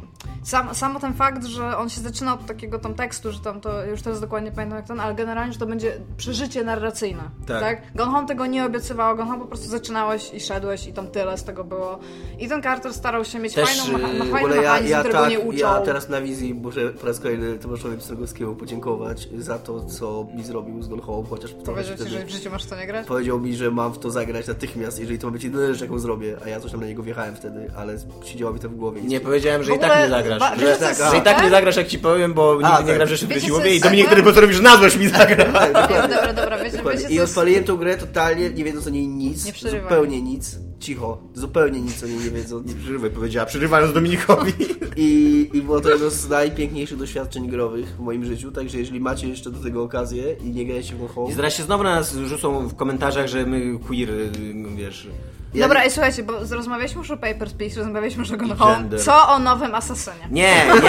B: Sam, samo ten fakt, że on się zaczyna od takiego tam tekstu, że tam to już teraz dokładnie pamiętam jak ten, ale generalnie, że to będzie przeżycie narracyjne.
C: Tak.
B: Tak. Gone Home tego nie obiecywało, Gone Home po prostu zaczynałeś i szedłeś i tam tyle z tego było. I ten Carter starał się mieć fajną, mecha-
D: y,
B: No, ma-
D: w
B: fajny
D: ogóle ja,
B: mechanizm,
D: ja,
B: którego
D: tak,
B: nie uczą.
D: ja teraz na wizji muszę po raz kolejny Tomaszowi Pstrogowskiemu podziękować za to, co mi zrobił z Gone Home, chociaż trochę się
B: Powiedział ci,
D: wtedy-
B: że w życiu masz w co nie grać?
D: Powiedział mi, że mam w to zagrać natychmiast, jeżeli to ma być jedyna rzecz, jaką zrobię, a ja coś tam na niego wjechałem wtedy, ale siedziało mi to w głowie.
C: Nie powiedziałem, że
B: W
C: i tak
B: ogóle
C: nie zagrasz.
B: ba-
C: że,
B: wiesz, co jest
C: że i tak nie
B: super?
C: zagrasz, jak ci powiem, bo nigdy nie
D: tak.
C: gram rzeczy w
B: Wiecie, co
C: Wysiłowie i
B: jest
C: do mnie
B: super?
C: który potrafisz na złość mi zagra.
B: Dobra, dobra, dobra, wiecie, wiecie,
D: Dokładnie.
B: co
D: I
B: jest...
D: odpaliłem tą grę totalnie, nie wiedząc o niej nic,
B: Nie przerywaj.
D: zupełnie nic, cicho, zupełnie nic o niej nie wiedząc.
C: Przerywaj, powiedziała, przerywając Dominikowi.
D: I, I było to jedno z najpiękniejszych doświadczeń growych w moim życiu, także jeżeli macie jeszcze do tego okazję i nie grajcie w
C: I
D: Home,
C: zaraz się znowu na nas rzucą w komentarzach, że my queer, y, wiesz...
D: Ja-
B: Dobra, i słuchajcie, bo rozmawialiśmy już o Papers, Please, rozmawialiśmy już o Gone
C: I
B: Home.
C: gender.
B: Co o nowym Assassinie?
C: Nie, nie, nie, bo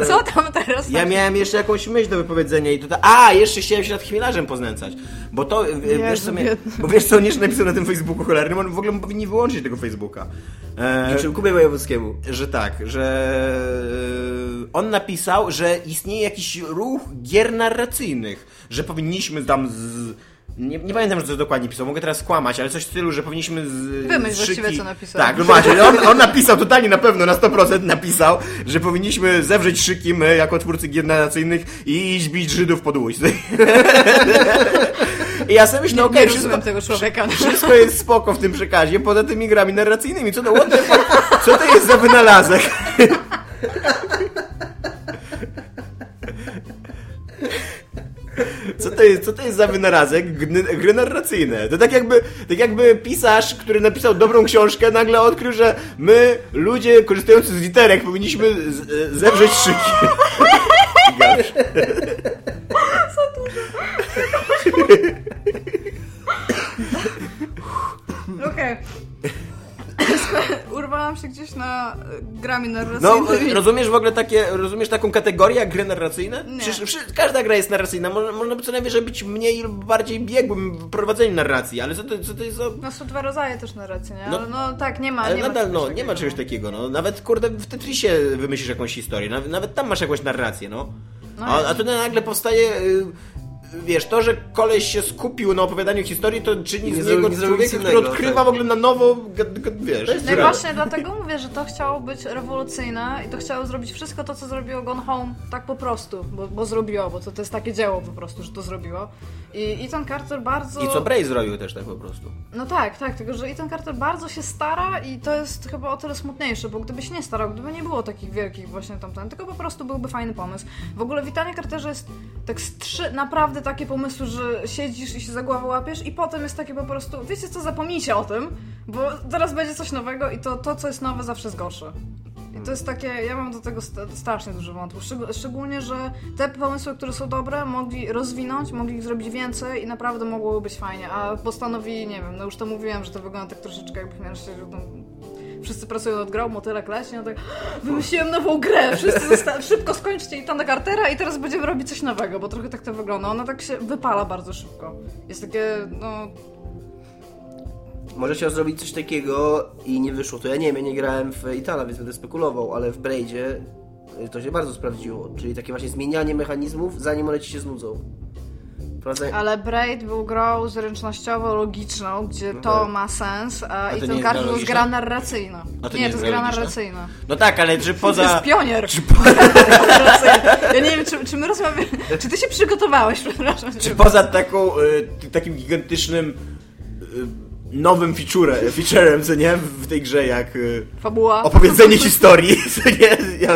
C: ja,
B: Co tam teraz? tak-
C: Ja miałem jeszcze jakąś myśl do wypowiedzenia i tutaj. A, jeszcze chciałem się nad chmielarzem poznęcać. Bo to. w- wiesz, co mnie,
B: biedny.
C: bo wiesz co on jeszcze napisał na tym Facebooku cholernym, on w ogóle powinni wyłączyć tego Facebooka. E,
D: Czym Kubie Wojewódzkiemu.
C: że tak, że e, on napisał, że istnieje jakiś ruch gier narracyjnych, że powinniśmy tam z. Nie, nie pamiętam, że to dokładnie pisał, mogę teraz kłamać, ale coś w stylu, że powinniśmy z.
B: Wymyśl
C: z
B: właściwie, co napisał.
C: Tak, no właśnie, on, on napisał totalnie na pewno, na 100% napisał, że powinniśmy zewrzeć szyki my, jako twórcy gier narracyjnych i iść bić Żydów pod łódź. I ja sobie myślę, no okej,
B: Nie
C: wszystko,
B: rozumiem tego człowieka.
C: wszystko jest spoko w tym przekazie, poza tymi grami narracyjnymi. Co to, what the fuck? Co to jest za wynalazek? Co to, jest, co to jest za wynalazek? Gny, gry narracyjne. To tak jakby, tak jakby pisarz, który napisał dobrą książkę, nagle odkrył, że my, ludzie korzystający z literek, powinniśmy z, e, zewrzeć szyki. Gasz.
B: Okej. Urwałam się gdzieś na e, grami
C: No,
B: narracyjnymi.
C: rozumiesz w ogóle takie, rozumiesz taką kategorię jak gry narracyjne?
B: Nie.
C: Przecież wszy- każda gra jest narracyjna, można, można by co najwyżej być mniej lub bardziej biegłym w prowadzeniu narracji, ale co to, co to jest za...
B: No są dwa rodzaje też narracji, nie?
C: No.
B: Ale no tak, nie ma,
C: Ale
B: nie
C: nadal,
B: ma
C: no, nie ma czegoś takiego, no. Nawet, kurde, w Tetrisie wymyślisz jakąś historię, nawet, nawet tam masz jakąś narrację, no.
B: No
C: A,
B: jasne.
C: a tu nagle powstaje y, wiesz, to, że koleś się skupił na opowiadaniu historii, to czyni
D: Nie
C: z
D: zrobił-
C: niego
D: nie zrobił nic
C: człowieka, który
D: innego,
C: odkrywa
D: tak.
C: w ogóle na nowo, g- g- wiesz.
D: To jest
B: No i
C: grę.
B: właśnie dlatego mówię, że to chciało być rewolucyjne i to chciało zrobić wszystko to, co zrobiło Gone Home tak po prostu, bo, bo zrobiło, bo to, to jest takie dzieło po prostu, że to zrobiło. I Ethan Carter bardzo...
C: I co Bray zrobił też tak po prostu.
B: No tak, tak, tylko że Ethan Carter bardzo się stara i to jest chyba o tyle smutniejsze, bo gdyby się nie starał, gdyby nie było takich wielkich właśnie tamten, tylko po prostu byłby fajny pomysł. W ogóle w Itanie Carterze jest tak z trzy naprawdę takie pomysły, że siedzisz i się za głowę łapiesz i potem jest takie po prostu, wiecie co, zapomnijcie o tym, bo zaraz będzie coś nowego i to, to co jest nowe zawsze jest gorsze. I to jest takie, ja mam do tego st- strasznie dużo wątków. Szczeg- szczególnie, że te pomysły, które są dobre, mogli rozwinąć, mogli ich zrobić więcej i naprawdę mogłoby być fajnie. A postanowili, nie wiem, no już to mówiłem, że to wygląda tak troszeczkę jakby miał się. No, wszyscy pracują nad grą, motylek leci, no tak wymyśliłem nową grę, wszyscy zosta- szybko skończcie i Tana Cartera i teraz będziemy robić coś nowego, bo trochę tak to wygląda. Ona tak się wypala bardzo szybko. Jest takie, no,
D: Może chciał zrobić coś takiego i nie wyszło. To ja nie wiem, ja nie grałem w Itala, więc będę spekulował, ale w Braidzie y, to się bardzo sprawdziło. Czyli takie właśnie zmienianie mechanizmów, zanim one ci się znudzą. Prawda?
B: Ale Braid był grą zręcznościowo-logiczną, gdzie to
D: tak.
B: ma sens, a
C: Mhm. to
B: i
C: nie
B: ten Carter
C: jest gra
B: to jest
C: logiczna?
B: gra narracyjna.
C: A to
B: nie,
C: nie
B: to jest
C: jest gra
B: gra
C: logiczna?
B: narracyjna.
C: No tak, ale czy
B: To jest
C: poza...
B: pionier.
C: Czy,
B: narracyjna. Ja nie wiem, czy, czy my rozmawiamy... Czy ty się przygotowałeś, przepraszam?
C: czy poza taką, y, t- takim gigantycznym y, nowym feature, featurem, co nie, w tej grze, jak y,
B: Fabuła.
C: opowiedzenie historii, co nie, ja,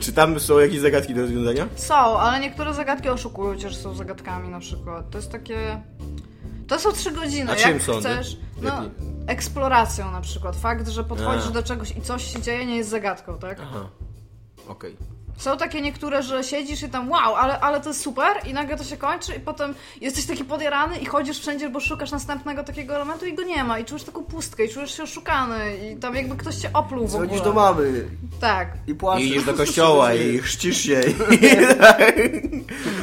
C: czy tam są jakieś zagadki do rozwiązania?
B: Są, ale niektóre zagadki oszukują cię, że są zagadkami na przykład. To jest takie... To są trzy godziny,
C: A
B: jak
C: czym są one?
B: chcesz... No,
C: Jakie?
B: eksploracją na przykład. Fakt, że podchodzisz
C: A.
B: do czegoś i coś się dzieje, nie jest zagadką, tak?
C: Aha, okej.
B: Są takie niektóre, że siedzisz i tam wow, ale, ale to jest super i nagle to się kończy i potem jesteś taki podjarany i chodzisz wszędzie, bo szukasz następnego takiego elementu i go nie ma i czujesz taką pustkę i czujesz się oszukany i tam jakby ktoś cię opluł w ogóle.
D: Dzwonisz do mamy
B: Tak.
D: i płaczesz.
C: I idziesz do kościoła i chrzcisz się i,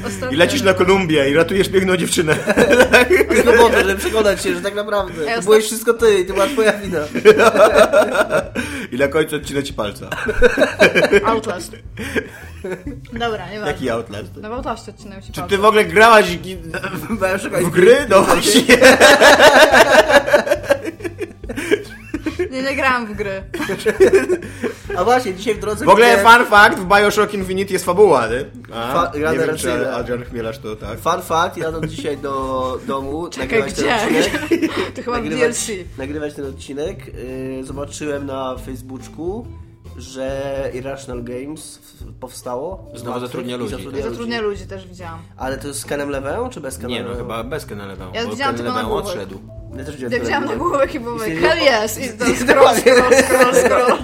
B: Ostatnio...
C: i lecisz na Kolumbię i ratujesz biegną dziewczynę.
D: No po to, żeby przekonać się, że tak naprawdę
B: Ja
D: to
B: osta-
D: byłeś wszystko ty i to była twoja wina.
C: I na końcu odcina ci palca.
B: Outlast. Dobra, nie
C: Jaki
B: ważne.
C: Outlast?
B: No bo to się odcinają się
C: Czy
B: palce.
C: ty w ogóle grałaś gi-
D: Byłem szukać.
C: w gry? No właśnie.
B: Nie, nie grałam w gry.
D: A właśnie, dzisiaj w drodze
C: W ogóle
D: widziałem-
C: fun fact, w Bioshock Infinite jest fabuła, nie? A,
D: Fa-
C: nie wiem, czy
D: generacyjna.
C: Adrian Chmielasz to tak.
D: Fun fact, jadąc dzisiaj do domu,
B: Czekaj,
D: nagrywać ten
B: gdzie?
D: odcinek-
B: To chyba w
D: nagrywać,
B: DLC.
D: nagrywać ten odcinek, yy, zobaczyłem na Facebooku, że Irrational Games w- powstało.
C: Znowu zatrudnia
D: I
C: ludzi,
D: Zatrudnia ludzi.
B: Zatrudnia ludzi też widziałam.
D: Ale to z Kenem Lewę, czy bez Kenem Lewę?
C: no bez Kenelewę,
B: Ja bo widziałam Ken tylko na Lebeł głowach. odszedł.
D: Ja też widziałem
B: Ja widziałam na głowę i
D: I
B: byłem
D: sobie-
B: hell yes, i to scroll, scroll, scroll, scroll.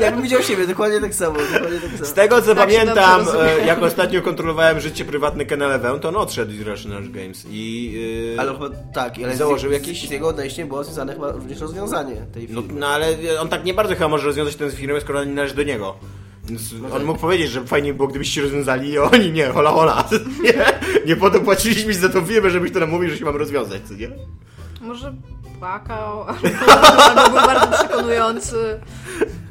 D: Jakbym widział siebie, dokładnie tak samo. Dokładnie tak
C: Z
D: samo.
C: tego co
B: Tak się
C: pamiętam,
B: dobrze rozumiem.
C: e, jak ostatnio kontrolowałem życie prywatne Kenelewę, to on odszedł z Rational Games i... e,
D: Ale chyba tak, ale z-
C: Założył
D: z-
C: jakiś-
D: Z jego odejściem było związane chyba również rozwiązanie tej
C: No,
D: firmy.
C: no ale on tak nie bardzo chyba może rozwiązać ten firmę, skoro ona nie należy do niego. Więc on mógł powiedzieć, że fajnie było, gdybyście rozwiązali, a oni nie, hola hola. Nie, nie po to płaciliśmy za tą firmę, żebyś to nam mówił, że się mam rozwiązać, co nie?
B: Może płakał, albo, albo był bardzo przekonujący.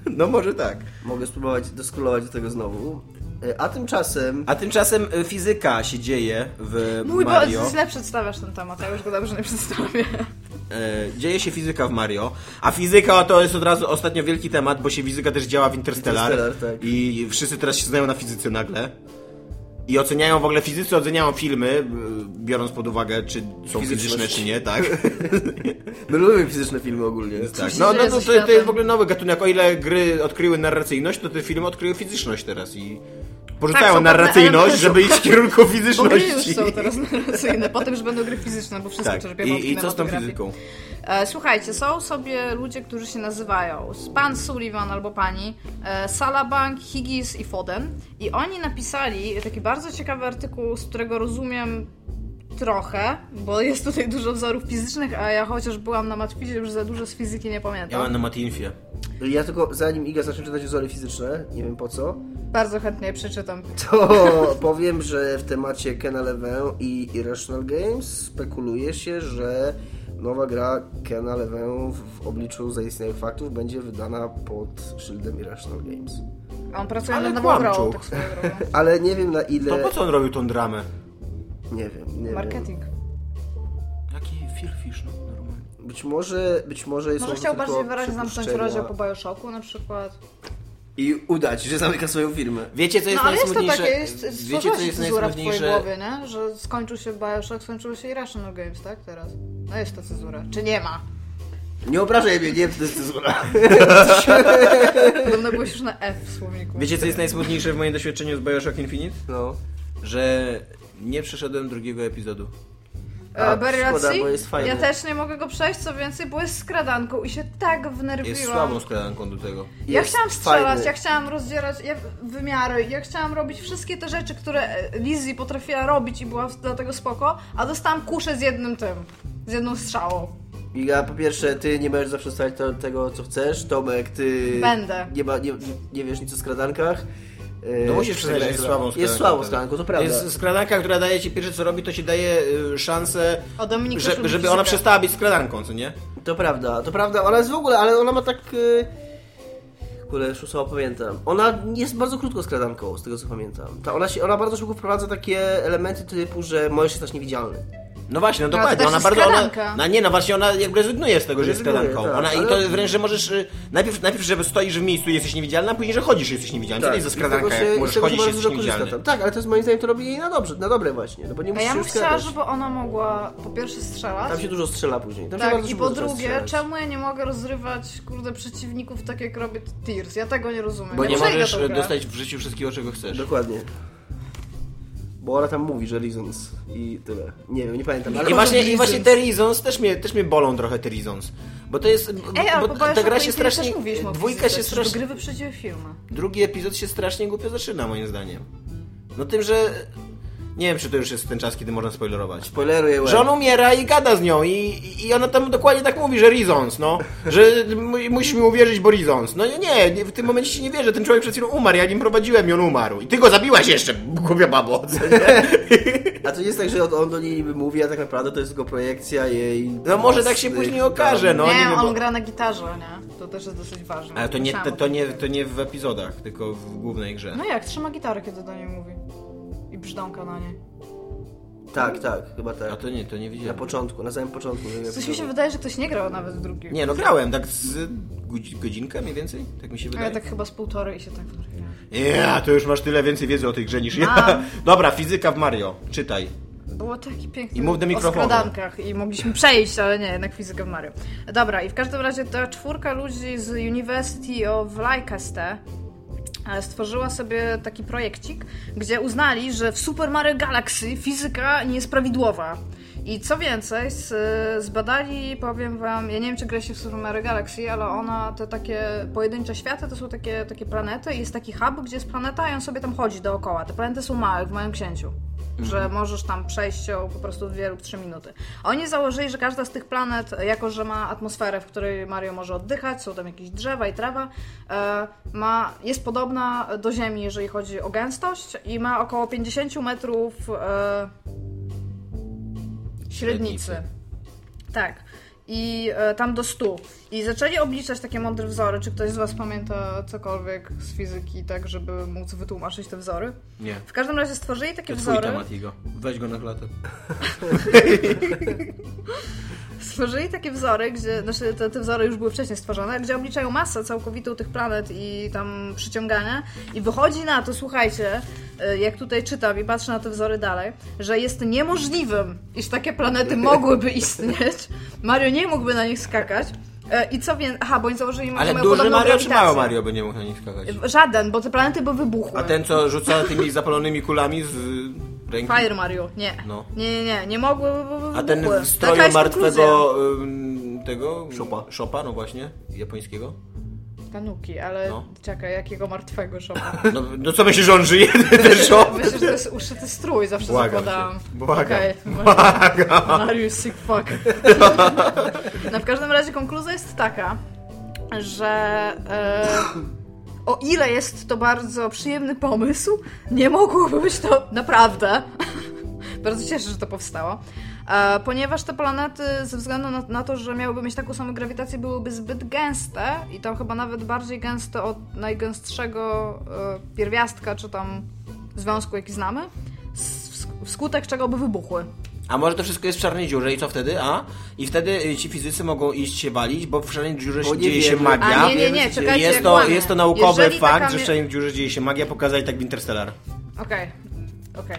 C: No może tak.
D: Mogę spróbować doskolować do tego znowu. E, A tymczasem
C: A tymczasem y, fizyka się dzieje w
B: Mój
C: Mario.
B: Boże, źle przedstawiasz ten temat, ja już go dobrze nie przedstawię.
C: E, dzieje się fizyka w Mario. A fizyka to jest od razu ostatnio wielki temat, bo się fizyka też działa w Interstellar.
D: Interstellar, tak.
C: I wszyscy teraz się znają na fizyce nagle. I oceniają w ogóle fizycy, oceniają filmy, y, biorąc pod uwagę, czy są
D: Fizyczność.
C: fizyczne, czy nie, tak?
D: My lubimy fizyczne filmy ogólnie.
C: tak.
B: się
C: No, no
B: dzieje ze
C: to, to, to jest
B: światem?
C: w ogóle nowy gatunek. O ile gry odkryły narracyjność, to te filmy odkryły fizyczność teraz i
B: Tak,
C: porzucają
B: są pewne
C: narracyjność,
B: elementy.
C: żeby iść w kierunku
B: Bo gry już
C: fizyczności.
B: są teraz narracyjne, potem już będą gry fizyczne, bo wszystko
C: Tak.
B: czerpiemy od
C: I, I co z tą
B: kinematografii.
C: fizyką?
B: E, słuchajcie, są sobie ludzie, którzy się nazywają pan Sullivan albo pani e, Salabank, Higgins i Foden i oni napisali taki bardzo ciekawy artykuł, z którego rozumiem trochę, bo jest tutaj dużo wzorów fizycznych, a ja chociaż byłam na matwizie, już za dużo z fizyki nie
C: Ja
B: pamiętam.
C: mam na Matinfie.
D: tak. Ja tylko, zanim Iga zacznie czytać wzory fizyczne, nie wiem po co,
B: Bardzo chętnie przeczytam.
D: to powiem, że w temacie Kena Levin i Irrational Games spekuluje się, że nowa gra Kena Levin w- w obliczu zaistniałych faktów będzie wydana pod szyldem Irrational Games.
B: A on pracuje
C: Ale
B: nad nową grą,
C: kłamczuch.
B: tak swoją drogą.
D: Ale nie wiem na ile...
C: To po co on robił tą dramę?
D: Nie wiem, nie wiem.
B: Marketing.
C: Jaki firfisz, no normalnie.
D: Być może, być może jest
B: Może chciał bardziej wyraźnie zamknąć rozdział po Bioshocku na przykład.
D: I udać, że zamyka swoją firmę.
C: Wiecie co
B: No
C: jest
B: ale jest to
C: najsmutniejsze?
B: takie, jest,
C: Wiecie
B: stworzyła
C: co
B: się
C: jest
B: cenzura w twojej
C: najsmutniejsze?
B: głowie, nie? Że skończył się Bioshock, skończyło się Irrational Games, tak? Teraz. No jest ta cenzura. Czy nie ma?
D: Nie obrażaj mnie, nie wiem, czy to jest cenzura.
B: Podobno byłeś już na F w słowniku.
C: Wiecie co jest najsmutniejsze w moim doświadczeniu z Bioshock Infinite?
D: No.
C: Że nie przeszedłem drugiego epizodu.
D: A,
B: E, Barry
D: szkoda,
B: Ratzi?
D: bo jest fajny.
B: Ja też nie mogę go przejść, co więcej, bo jest skradanką i się tak wnerwiłam.
C: Jest słabą skradanką do tego.
B: Ja
D: Jest
B: chciałam strzelać,
D: fajny.
B: ja chciałam rozdzierać ja, wymiary, ja chciałam robić wszystkie te rzeczy, które e, Lizzie potrafiła robić i była w- dlatego spoko, a dostałam kuszę z jednym tym, z jedną strzałą.
D: I ja po pierwsze, ty nie będziesz zawsze stać to, tego, co chcesz. Tomek, ty.
B: Będę.
D: Nie, ma, nie, nie wiesz nic o skradankach. Yy,
C: No musisz przyznać, że jest słabą skradanką.
D: Jest słabą skradanką, to prawda.
C: Jest skradanka, która daje ci pierwsze co robi, to ci daje y, szansę,
B: O, Dominik też
C: że,
B: lubi
C: żeby ona
B: fizykę.
C: przestała być skradanką, co nie?
D: To prawda, to prawda. Ona jest w ogóle, ale ona ma tak. Yy... Kule, już słowa pamiętam. Ona jest bardzo krótko skradanką, z tego co pamiętam. Ta, ona, się, ona bardzo szybko wprowadza takie elementy typu, że możesz się stać niewidzialny.
C: No właśnie, no
B: No, ale
C: dokładnie.
B: to też
C: ona
B: jest
C: bardzo. Ona,
B: skradanka.
C: no nie, no właśnie, ona jakby rezygnuje z tego, że jest
D: Rezygnuje,
C: skradanką.
D: tak,
C: ona, I
D: ale-
C: to wręcz, że możesz. y, Najpierw, najpierw, że stoisz w miejscu i jesteś niewidzialny, a później, że chodzisz i jesteś niewidzialny. Co to jest za
D: i z tego
C: skradanka,
D: się-
C: jak
D: i z
C: możesz
D: tego
C: chodzić i
D: bardzo
C: jesteś
D: dużo korzysta
C: niewidzialny.
D: tam. Tak, ale to jest moim zdaniem to robi jej na dobrze, na dobre właśnie, no bo nie
B: A
D: musisz
B: ja
D: się
B: bym chciała,
D: skradać.
B: żeby ona mogła po pierwsze strzelać,
D: Tam się dużo strzela później. Tam się
B: tak,
D: bardzo
B: i
D: szybko
B: po
D: zaczyna
B: drugie,
D: strzelać.
B: czemu ja nie mogę rozrywać, kurde, przeciwników tak jak robię Tears? Ja tego nie rozumiem.
C: Bo
B: ja
C: nie
B: przejdę
C: możesz
B: tą
C: y,
B: grę.
C: dostać w życiu wszystkiego, czego chcesz.
D: Dokładnie. Bo ona tam mówi, że reasons i tyle. Nie wiem, nie pamiętam. ale-
C: I właśnie, i właśnie
D: Reasons.
C: te Reasons też mnie, też mnie bolą trochę te Reasons. Bo to jest.
B: Ej, ale
C: bo
B: po
C: ta gra się strasznie.
B: Też mówiliśmy o
C: Dwójka
B: fizyce,
C: się
B: przecież
C: strasznie.
B: Do gry wyprzedziły filmy.
C: Drugi epizod się strasznie głupio zaczyna, moim zdaniem. No tym, że. Nie wiem, czy to już jest ten czas, kiedy można spoilerować.
D: Spoileruję łeb.
C: Że on umiera i gada z nią i, i ona tam dokładnie tak mówi, że Rizons, no. Że mu- musisz mi uwierzyć, bo Rizons. No nie, nie, nie, w tym momencie ci nie wierzę, ten człowiek przed chwilą umarł, ja nim prowadziłem i on umarł. I ty go zabiłaś jeszcze, głupia babo. co nie?
D: A to nie jest tak, że on- on do niej niby mówi, a tak naprawdę to jest tylko projekcja jej...
C: No może tak się
D: własnych
C: później okaże,
D: tam-
C: no.
B: nie,
C: nie wiem,
B: on
C: bo-
B: gra na gitarze, nie? To też jest dosyć ważne.
C: Ale to nie, to,
B: Słyszałam
C: to,
B: o tym.
C: nie, to nie w epizodach, tylko w głównej grze.
B: No jak, trzyma gitarę, kiedy do niej mówi. I brzdąka na niej.
D: Tak, tak, chyba
C: A
D: tak.
C: to nie, to nie
D: Na
C: widziałem.
D: początku, na samym początku. że
B: Coś mi się wydaje, że ktoś nie grał nawet w drugi.
C: Nie, no grałem, tak z godzi- godzinkę mniej więcej, tak mi się
B: A ja
C: wydaje.
B: tak chyba z półtorej i się tak wnerwiłam.
C: Ja, to już masz tyle więcej wiedzy o tej grze niż ja.
B: Mam.
C: Dobra, fizyka w Mario, czytaj.
B: Było taki piękny
C: I mów do
B: o
C: mikrofonu.
B: skradankach i mogliśmy przejść, ale nie, jednak fizykę w Mario. Dobra, i w każdym razie ta czwórka ludzi z University of Leicester e, stworzyła sobie taki projekcik, gdzie uznali, że w Super Mario Galaxy fizyka nie jest prawidłowa. I co więcej, z, zbadali, powiem wam, ja nie wiem czy gra się w Super Mario Galaxy, ale ona, te takie pojedyncze światy to są takie, takie planety i jest taki hub, gdzie jest planeta i on sobie tam chodzi dookoła. Te planety są małe, jak w moim księciu.
C: Mhm.
B: Że możesz tam przejść ją po prostu w 2 lub 3 minuty. Oni założyli, że każda z tych planet, e, jako że ma atmosferę, w której Mario może oddychać, są tam jakieś drzewa i trawa, e, ma, jest podobna do Ziemi, jeżeli chodzi o gęstość i ma około 50 metrów e, średnicy. Tak. I e, tam do 100. I zaczęli obliczać takie mądre wzory. Czy ktoś z Was pamięta cokolwiek z fizyki, tak, żeby móc wytłumaczyć te wzory?
C: Nie.
B: W każdym razie stworzyli takie
C: To twój
B: wzory.
C: temat, Igo. Weź go na klatę.
B: Stworzyli takie wzory, gdzie, znaczy te, te wzory już były wcześniej stworzone, gdzie obliczają masę całkowitą tych planet i tam przyciągania. I wychodzi na to, słuchajcie, y, jak tutaj czytam i patrzę na te wzory dalej, że jest niemożliwym, iż takie planety mogłyby istnieć. Mario nie mógłby na nich skakać. E, I co więc. Aha, bo oni założyli
C: Ale
B: mają
C: duży
B: podobną
C: Mario czy
B: grawitację.
C: mały Mario by nie mógł na nich skakać?
B: Żaden, bo te planety by wybuchły.
C: A ten, co rzuca tymi zapalonymi kulami z e, ręki?
B: Fire Mario, nie.
C: No.
B: Nie, nie, nie, nie mogły. bo- bo
C: A ten
B: wybuchły.
C: w
B: Taka
C: stroju
B: jest konkluzja.
C: martwego ym, tego...
D: Szopa.
C: Szopa, no właśnie. Japońskiego.
B: Tanuki, ale
C: No.
B: czekaj, jakiego martwego szopa?
C: No, no co myślisz, że on żyje, ten szop?
B: Myślę, że to jest uszyty strój, zawsze
C: Błagam
B: zakładałam.
C: cię. Błagam.
B: Okej, może-
C: tak, no.
B: Mariusz, sick fuck. no w każdym razie konkluzja jest taka, że e, o ile jest to bardzo przyjemny pomysł, nie mogłoby być to naprawdę Bardzo się cieszę, że to powstało. E, ponieważ te planety, ze względu na, na to, że miałyby mieć taką samą grawitację, byłyby zbyt gęste i tam chyba nawet bardziej gęste od najgęstszego e, pierwiastka, czy tam związku, jaki znamy, s- wskutek czego by wybuchły.
C: A może to wszystko jest w czarnej dziurze i co wtedy? A? I wtedy y, ci fizycy mogą iść się walić, bo w czarnej dziurze
D: Bo
C: się
D: nie
C: dzieje się
D: wiemy.
C: magia.
B: A nie, nie, nie,
D: Jest
B: czekajcie,
C: jest,
B: jak
C: to,
B: łamię.
C: jest to naukowy
B: Jeżeli taka
C: fakt, że
B: mie-
C: w czarnej dziurze dzieje się magia, pokazali tak w Interstellar.
B: Okej, okej.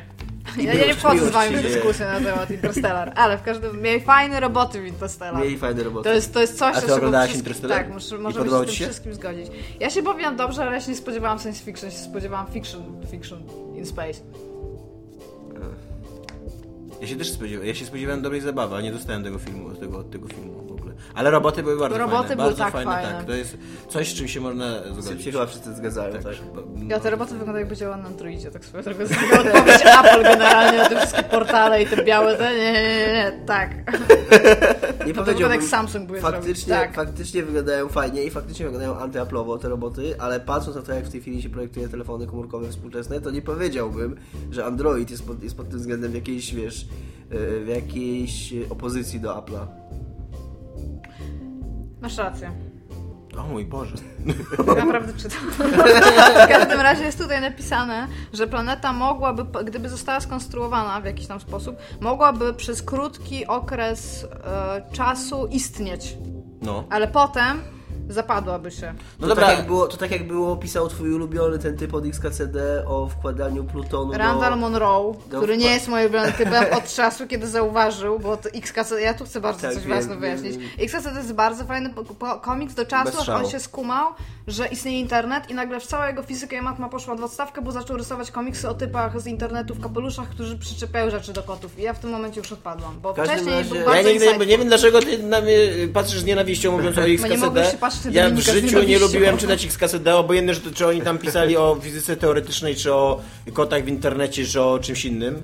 B: Ja
D: miłość,
B: nie wchodzę z
D: miłość
B: wami
D: się
B: w
D: dzieje.
B: dyskusję na temat Interstellar, ale w każdym mieli fajne roboty w Interstellar.
D: Mieli fajne roboty.
B: To jest, to jest coś,
C: A
B: z
C: ty
B: czego
C: oglądałaś
B: wszystkim-
C: Interstellar?
B: Tak, muszę,
C: I
B: możemy się z
C: podobało
B: tym
C: ci się?
B: wszystkim zgodzić. Ja się bawiłam dobrze, ale ja się nie spodziewałam science fiction, ja się spodziewałam fiction, fiction in space.
C: Ja się też spodziewałem, ja się spodziewałem dobrej zabawy, a nie dostałem tego filmu, tego, tego filmu w ogóle. Ale roboty były bardzo
B: Roboty
C: fajne.
B: były
C: bardzo
B: tak
C: fajne,
B: fajne.
C: tak. To jest coś, z czym się można
D: Się
C: zgodzić.
D: chyba wszyscy zgadzają, tak?
C: Tak.
B: Ja te roboty wyglądają jakby działały na Androidzie, tak swoją drogą zrobiła odpowiedź Apple generalnie, te wszystkie portale i te białe, te nie, nie, nie, nie, tak.
D: Nie
B: to
D: powiedziałbym,
B: tak Samsung by
D: faktycznie,
B: zrobił, tak.
D: faktycznie wyglądają fajnie i faktycznie wyglądają antyaplowo te roboty, ale patrząc na to, jak w tej chwili się projektuje telefony komórkowe współczesne, to nie powiedziałbym, że Android jest pod, jest pod tym względem w jakiejś, wiesz, e, w jakiejś e, opozycji do Apple'a.
B: Masz rację.
C: O mój Boże.
B: Naprawdę czytam. w każdym razie jest tutaj napisane, że planeta mogłaby, p- gdyby została skonstruowana w jakiś tam sposób, mogłaby przez krótki okres e, czasu istnieć,
C: No.
B: ale potem zapadłaby się.
C: No
D: to,
C: dobra.
D: tak jak było, to tak jak było, pisał twój ulubiony ten typ od XKCD o wkładaniu plutonu
B: Randall
D: do...
B: Monroe,
D: do
B: który
D: wpa-
B: nie jest moim bratem typem od czasu, kiedy zauważył, bo to XKCD, ja tu chcę bardzo
D: Tak,
B: coś
D: wiem,
B: jasno
D: wiem,
B: wyjaśnić.
D: wiem.
B: XKCD jest bardzo fajny po, po, komiks do czasu,
D: Bez
B: aż on
D: szału.
B: się skumał, że istnieje internet i nagle w cała jego fizyka i matma poszła w odstawkę, bo zaczął rysować komiksy o typach z internetu w kapeluszach, którzy przyczepiają rzeczy do kotów. I ja w tym momencie już odpadłam, bo
D: W każdym
B: wcześniej
D: razie-
B: był
C: Ja
B: bardzo
C: nigdy,
B: insight.
C: nie wiem dlaczego ty na mnie y, patrzysz z nienawiścią mówiąc o
B: mogłeś
C: XKCD.
B: się patrzeć na
C: Ja w
B: Dominika z
C: życiu nie
B: nienawiścią.
C: lubiłem czytać XKCD, obojętne, że to, czy oni tam pisali o fizyce teoretycznej, czy o kotach w internecie, czy o czymś innym.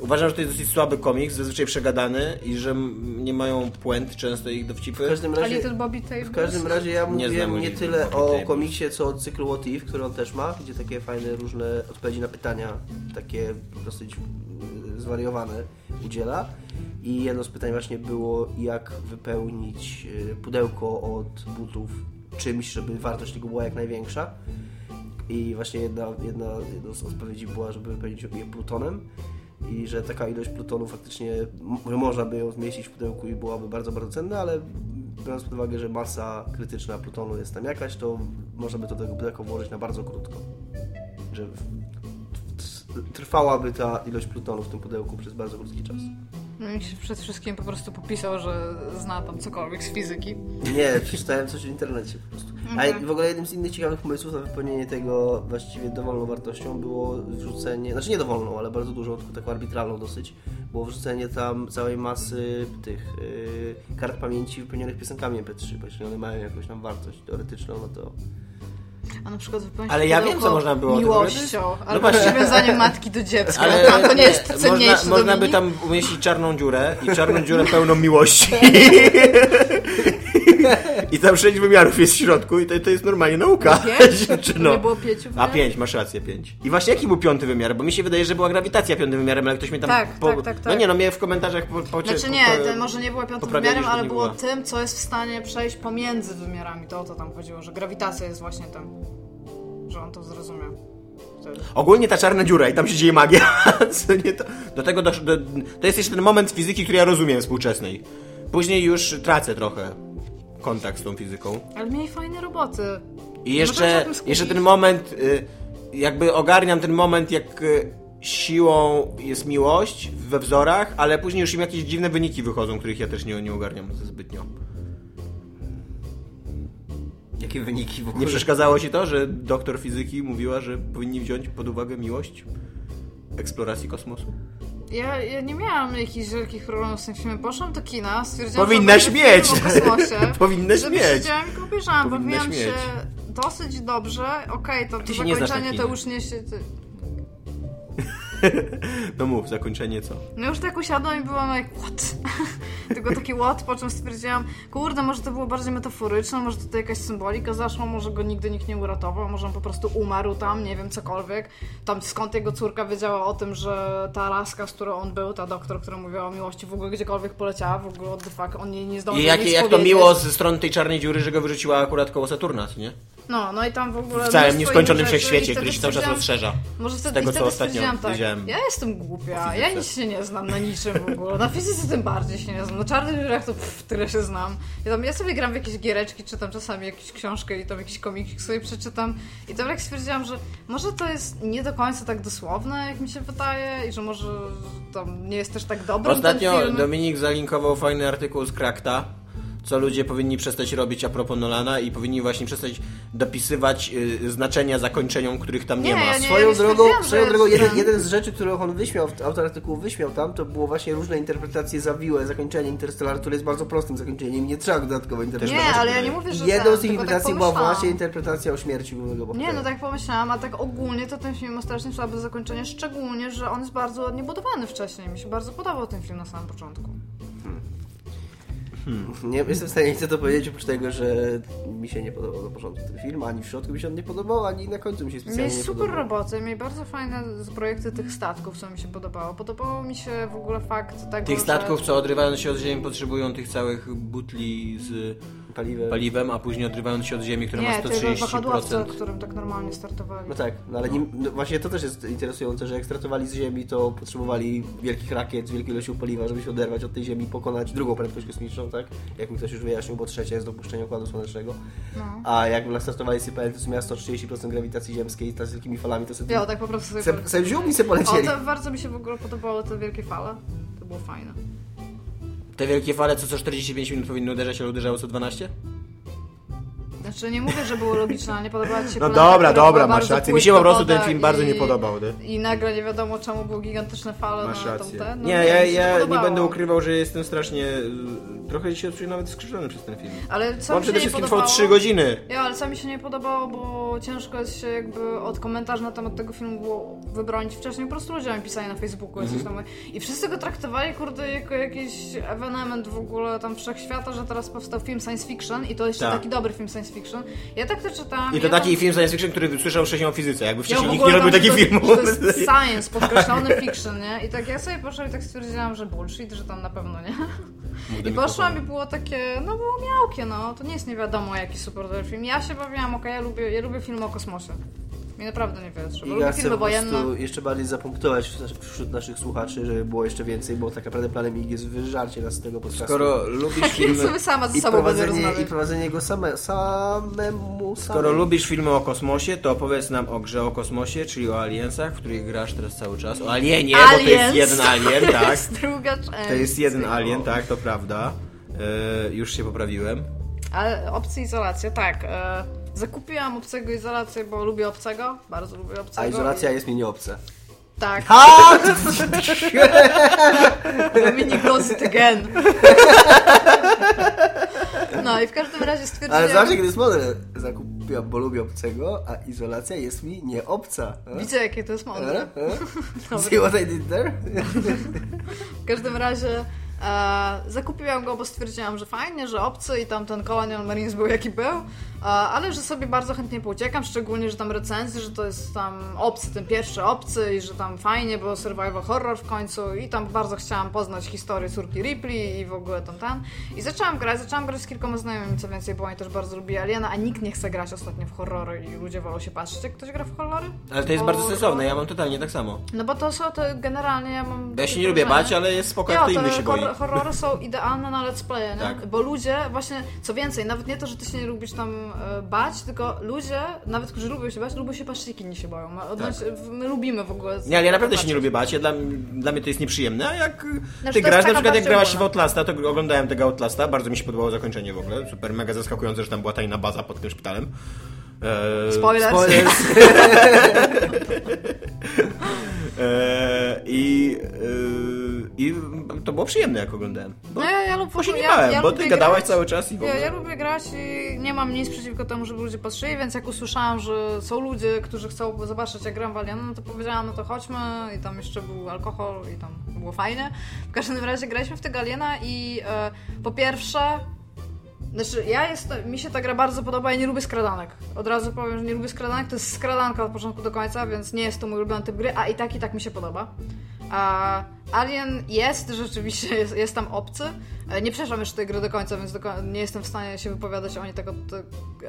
C: Uważam, że to jest dosyć słaby komiks, zazwyczaj przegadany i że m- nie mają puent często ich
D: W
C: dowcipy.
D: każdym
B: A
D: razie...
B: Little Bobby Tables.
D: W każdym razie ja
C: znam
D: mówiłem nie
C: Little
D: tyle
C: Bobby
D: o
C: Tables.
D: komiksie, co o cyklu What If, który on też ma, gdzie takie fajne różne odpowiedzi na pytania, takie dosyć mm, zwariowane udziela. I jedno z pytań właśnie było, jak wypełnić y, pudełko od butów czymś, żeby wartość tego była jak największa. I właśnie jedna, jedna, jedna z odpowiedzi była, żeby wypełnić je plutonem i że taka ilość plutonu faktycznie m- że można by ją zmieścić w pudełku i byłaby bardzo, bardzo cenna, ale biorąc pod uwagę, że masa krytyczna plutonu jest tam jakaś, to można by to do tego pudełka włożyć na bardzo krótko. Że w- t- trwałaby ta ilość plutonu w tym pudełku przez bardzo krótki czas.
B: No i się przed wszystkim po prostu popisał, że zna tam cokolwiek z fizyki.
D: Nie, przeczytałem coś w internecie po prostu. A w ogóle jednym z innych ciekawych pomysłów na wypełnienie tego właściwie dowolną wartością było wrzucenie, znaczy nie dowolną, ale bardzo dużą, tylko taką arbitralną dosyć, było wrzucenie tam całej masy tych yy, kart pamięci wypełnionych piosenkami MP3, bo jeśli one mają jakąś tam wartość teoretyczną, no to...
B: A na przykład wypełnić
C: Ale ja wiem,
B: pudełko
C: co można było
B: Miłością,
C: zrobić.
B: albo
C: Zobacz.
B: przywiązaniem matki do dziecka. Ale to nie jest cenniejsze
C: można, można by
B: Dominik?
C: tam umieścić czarną dziurę i czarną dziurę pełną miłości. I tam sześć wymiarów jest w środku i to, to jest normalnie nauka.
B: Pięć?
C: Czy
B: To
C: no?
B: nie było pięciu
C: A
B: wymiarów?
C: pięć, masz rację, pięć. I właśnie jaki był piąty wymiar? Bo mi się wydaje, że była grawitacja piątym wymiarem, ale ktoś mi tam...
B: Tak, tak, tak, tak.
C: No nie, no mnie w komentarzach po, po,
B: Znaczy
C: po-
B: nie,
C: po-
B: to może nie było piątym
C: poprawiali,
B: wymiarem,
C: że
B: ale
C: no nie
B: było
C: była.
B: tym, co jest w stanie przejść pomiędzy wymiarami. To o to tam chodziło, że grawitacja jest właśnie tym. Że on to zrozumiał. Wtedy.
C: Ogólnie ta czarna dziura i tam się dzieje magia. Co nie to? Do tego dosz, do, to jest jeszcze ten moment fizyki, który ja rozumiem współczesnej. Później już tracę trochę kontakt z tą fizyką.
B: Ale mieli fajne roboty.
C: I
B: Możemy się
C: jeszcze,
B: na tym skupić.
C: jeszcze ten moment, y, jakby ogarniam ten moment, jak y, siłą jest miłość we wzorach, ale później już im jakieś dziwne wyniki wychodzą, których ja też nie, nie ogarniam zbytnio.
D: Jakie wyniki w ogóle?
C: Nie przeszkadzało ci to, że doktor fizyki mówiła, że powinni wziąć pod uwagę miłość eksploracji kosmosu?
B: Ja, ja nie miałam jakichś wielkich problemów z tym filmem. Poszłam do kina, stwierdziłam,
C: Powinnaś
B: że obejrzę film
C: mieć.
B: o kosmosie,
C: Powinnaś
B: żeby
C: mieć.
B: Siedziałam i go obejrzałam.
C: Powinnaś
B: Bawiłam
C: mieć.
B: się dosyć dobrze. Okej, to, to
C: się nie znasz na
B: zakończenie to
C: kinach.
B: już nie się... Ty...
C: No mów, zakończenie co?
B: No już tak usiadłam i byłam jak what? Tylko taki what, po czym stwierdziłam, kurde, może to było bardziej metaforyczne, może tutaj jakaś symbolika zaszła, może go nigdy nikt nie uratował, może on po prostu umarł tam, nie wiem, cokolwiek. Tam skąd jego córka wiedziała o tym, że ta laska, z którą on był, ta doktor, która mówiła o miłości, w ogóle gdziekolwiek poleciała, w ogóle what the fuck, on jej nie zdążył
C: I jak,
B: nic
C: jak to
B: powiedzieć.
C: miło ze strony tej czarnej dziury, że go wyrzuciła akurat koło Saturna, co nie?
B: No, no i tam w ogóle...
C: W całym
B: mnóstwo
C: nieskończonym
B: innych rzeczy i
C: wszechświecie,
B: wtedy
C: który się cały czas
B: stwierdziłam,
C: rozszerza.
B: Może wtedy,
C: tego,
B: tego,
C: co
B: wtedy
C: ostatnio
B: stwierdziłam tak,
C: wiedziałem.
B: ja jestem głupia, ja
C: O fizyce.
B: nic się nie znam na niczym w ogóle, na fizyce tym bardziej się nie znam, na czarnych dziurach to pff, tyle się znam. Ja, tam, ja sobie gram w jakieś giereczki, czytam czasami jakąś książkę i tam jakieś komiki sobie przeczytam i tam jak stwierdziłam, że może to jest nie do końca tak dosłowne, jak mi się wydaje i że może tam nie jest też tak dobry ten
C: Ostatnio
B: film.
C: Dominik zalinkował fajny artykuł z Krakta, co ludzie powinni przestać robić a propos Nolana i powinni właśnie przestać dopisywać y, znaczenia zakończeniom, których tam nie,
B: Nie,
C: ma.
B: ja nie-
D: Swoją drogą,
B: stwierdziłam, że
D: swoją drogą
B: jest
D: jeden,
B: ten-
D: jeden z rzeczy, których on wyśmiał, autor artykułu wyśmiał tam, to było właśnie różne interpretacje zawiłe, zakończenie Interstellar, które jest bardzo prostym zakończeniem, nie trzeba go dodatkowo
B: Nie,
D: interpretować.
B: ale ja nie mówię, że
D: Jedną
B: tak,
D: z
B: tylko tak
D: tych interpretacji była
B: pomyślałam.
D: właśnie interpretacja o śmierci głównego bohatera.
B: Nie, no tak pomyślałam, a tak ogólnie to ten film ma strasznie słabe zakończenie, szczególnie, że on jest bardzo ładnie budowany wcześniej. Mi się bardzo podobał ten film na samym początku.
D: Nie jestem w stanie nic na to powiedzieć, oprócz tego, że mi się nie podobał na początku ten film, ani w środku mi się on nie podobał, ani na końcu mi się specjalnie
B: Mieli
D: nie
B: super
D: podobał.
B: roboty, mieli bardzo fajne z- projekty tych statków, co mi się podobało. Podobało mi się w ogóle fakt tego,
C: Tych statków,
B: że...
C: co odrywając się od ziemi potrzebują tych całych butli z
D: Paliwem.
C: paliwem, a później odrywając się od ziemi, która
B: Nie,
C: ma
B: tego wahadłowca,
C: 130%.
B: którym tak normalnie startowali.
D: No tak, no ale nim, no właśnie to też jest interesujące, że jak startowali z Ziemi, to potrzebowali wielkich rakiet z wielkiej ilością paliwa, żeby się oderwać od tej Ziemi, pokonać drugą prędkość kosmiczną, tak? Jak mi ktoś już wyjaśnił, bo trzecia jest dopuszczenie Układu Słonecznego.
B: No.
D: A jak startowali z CPL, to są miała 130% grawitacji ziemskiej, ta z wielkimi falami, to sobie...
B: Ja tak po prostu sobie...
D: se, se wziął i se
B: O,
D: polecieli.
B: to bardzo mi się w ogóle podobały te wielkie fale. To było fajne.
C: Te wielkie fale, co co 45 minut powinny uderzać, ale uderzało co 12?
B: Znaczy nie mówię, że było logiczne, ale nie podobała ci się
C: No
B: planeta,
C: dobra,
B: która
C: dobra,
B: była
C: masz
B: bardzo
C: rację. Mi się po
B: płytkowoda
C: prostu ten film bardzo
B: i-
C: nie podobał, nie?
B: I nagle nie wiadomo czemu były gigantyczne fale
C: Masz
B: na
C: rację.
B: tą ten.
C: nie, ja,
B: No, mi się
C: ja nie
B: podobało.
C: będę ukrywał, że jestem strasznie. y, Trochę się odczuję nawet skrzyżony przez ten film.
B: Ale co
C: On
B: mi się
C: przede
B: nie
C: wszystkim trwał
B: podobało?
C: 3 godziny.
B: Ja, ale co mi się nie podobało, bo ciężko jest się jakby od komentarzy na temat tego filmu było wybronić wcześniej. Po prostu ludzie mi pisali na Facebooku mm
C: Mhm.
B: coś tam. I wszyscy go traktowali, kurde, jako jakiś ewenement w ogóle tam wszechświata, że teraz powstał film science fiction i to jeszcze
C: Tak.
B: taki dobry film science fiction. Ja tak to czytałam.
C: I to
B: ja tam-
C: taki film science fiction, który słyszał wcześniej o fizyce. Jakby
B: Ja
C: wcześniej
B: w
C: nikt nie
B: ogóle
C: robił
B: tam,
C: takich
B: że to-
C: filmów.
B: że To jest science, podkreślony fiction, nie? I tak ja sobie poszłam i tak stwierdziłam, że bullshit, że tam na pewno nie. I poszłam i było takie, no było miałkie, no. To nie jest nie wiadomo jaki super dobry film. Ja się bawiłam, okej, ja, lubię, ja lubię filmy o kosmosie. Mi naprawdę nie wierzy, bo
D: I ja
B: lubię
D: chcę
B: filmy
D: po
B: wojenne.
D: prostu jeszcze bardziej zapunktować wśród- wśród naszych słuchaczy, żeby było jeszcze więcej, bo tak naprawdę planem ich jest wyżarcie nas z tego podcastu.
C: Skoro lubisz
B: Ja
C: filmy.
B: sobie sama ze
D: I
B: sobą będę
D: prowadzenie,
B: rozmawiać.
D: I prowadzenie go same, samemu
C: Skoro
D: samemu.
C: lubisz filmy o kosmosie, to opowiedz nam o grze o kosmosie, czyli o aliensach, w których grasz teraz cały czas. O alienie, bo to jest
B: Aliens.
C: jeden alien,
B: To
C: tak.
B: jest druga część.
C: To jest jeden alien, tak, to prawda. E, już się poprawiłem.
B: Ale obcy izolacja, tak. E, zakupiłam obcego izolację, bo lubię obcego. Bardzo lubię obcego.
D: A izolacja
B: I-
D: jest mi nieobca.
B: Tak. Dominik goes it again. No i w każdym razie stwierdziłam...
D: Ale zawsze, kiedy jest model, zakupiłam, bo lubię obcego, a izolacja jest mi nieobca. E?
B: Widzę, jakie to jest mądre.
D: E? E? See what I did there?
B: W każdym razie e, zakupiłam go, bo stwierdziłam, że fajnie, że obcy i tam ten Colonial Marines był jaki był, e, ale że sobie bardzo chętnie pouciekam, szczególnie, że tam recenzje, że to jest tam obcy, ten pierwszy obcy i że tam fajnie, bo survival horror w końcu i tam bardzo chciałam poznać historię córki Ripley i w ogóle tam tam. I zaczęłam grać, zaczęłam grać z kilkoma znajomymi, co więcej, bo oni też bardzo lubi Aliena, a nikt nie chce grać ostatnio w horrory i ludzie wolą się patrzeć, jak ktoś gra w horrory.
C: Ale to jest
B: Bo-
C: bardzo sensowne, ja mam totalnie tak samo.
B: No bo to są, to generalnie ja mam...
C: Ja się
B: takie
C: nie lubię
B: wrażenie-
C: bać, ale jest spoko,
B: nie,
C: jak to
B: to
C: inny się boi.
B: horror- horrory są idealne na let's play, nie?
C: Tak.
B: Bo ludzie, właśnie, co więcej, nawet nie to, że ty się nie lubisz tam e, bać, tylko ludzie, nawet którzy lubią się bać, lubią się patrzeć, jak inni się boją. My, my lubimy w ogóle.
C: Tak. Nie, ale ja naprawdę się
B: patrzeć.
C: nie lubię bać, ja dla, dla mnie to jest nieprzyjemne, a jak
B: No, to
C: ty
B: jest
C: grasz, na
B: taka
C: przykład jak
B: bardziej
C: grałaś w
B: ogólna.
C: Outlasta, to oglądałem tego Outlasta, bardzo mi się podobało zakończenie w ogóle, super mega zaskakujące, że tam była tajna baza pod tym szpitalem. Eee,
B: Spoilers.
C: Eee, I eee, e, I to było przyjemne, jak oglądałem. Bo
B: No ja, ja lub,
C: Właśnie nie
B: ja,
C: bałem, bo
B: lubię
C: ty gadałaś
B: grać.
C: cały czas i w
B: Ja,
C: ogóle.
B: ja lubię grać i nie mam nic przeciwko temu, żeby ludzie patrzyli, więc jak usłyszałam, że są ludzie, którzy chcą zobaczyć jak gram w Aliena, no to powiedziałam, no to chodźmy i tam jeszcze był alkohol i tam było fajnie. W każdym razie graliśmy w tego Aliena i e, po pierwsze... Znaczy, ja jestem, mi się ta gra bardzo podoba, ja nie lubię skradanek. Od razu powiem, że nie lubię skradanek, to jest skradanka od początku do końca, więc nie jest to mój ulubiony typ gry, a i tak, i tak mi się podoba. A Alien jest rzeczywiście, jest, jest tam obcy. E, Nie przeszłam jeszcze tej gry do końca, więc do, ko- nie jestem w stanie się wypowiadać o niej tak od,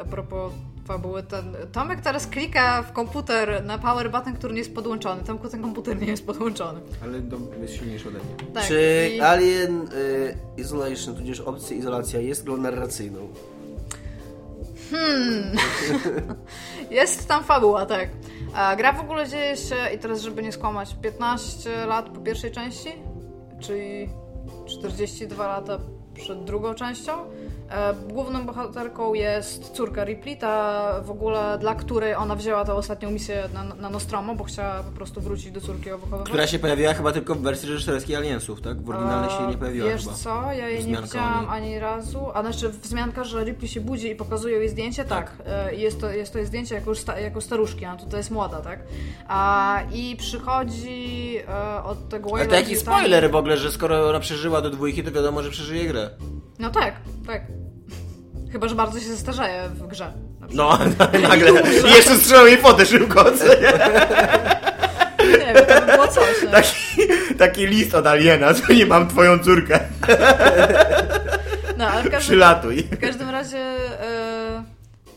B: a propos fabuły. Ten, Tomek teraz klika w komputer na power button, który nie jest podłączony. Tomku ten komputer nie jest podłączony.
C: Ale to jest silniejsze ode mnie.
B: Tak,
D: Czy
B: i-
D: Alien y, Isolation, tudzież opcja izolacja jest grą narracyjną?
B: Jest tam fabuła, tak. A gra w ogóle dzieje się, i teraz żeby nie skłamać, 15 lat po pierwszej części, czyli 42 lata przed drugą częścią. E, Główną bohaterką jest córka Ripley, ta w ogóle dla której ona wzięła tę ostatnią misję na, na Nostromo, bo chciała po prostu wrócić do córki ją wychowywać.
C: Która się pojawiła chyba tylko w wersji reżyserskiej Aliensów, tak? W oryginalnej się nie pojawiła
B: Wiesz
C: chyba.
B: co, ja jej nie
C: Wzmianka o
B: widziałam
C: niej.
B: ani razu, a znaczy wzmianka, że Ripley się budzi i pokazuje jej zdjęcie, tak, E, jest, to, jest to jej zdjęcie jako, już sta, jako staruszki, a tutaj jest młoda, tak, a, i przychodzi e, od tego
C: Ale
B: Wayla
C: to jaki
B: Dutana-
C: spoiler w ogóle, że skoro ona przeżyła do dwójki, to wiadomo, że przeżyje grę.
B: No tak, tak, chyba, że bardzo się zestarzeje w grze. na przykład.
C: No, nagle. I jeszcze strzelał jej fotę szybko. co nie?
B: Nie wiem, to by było coś, no.
C: Tak. Taki, taki list od Aliena, co nie mam twoją córkę.
B: no, ale w każdym
C: Przylatuj.
B: W każdym razie e,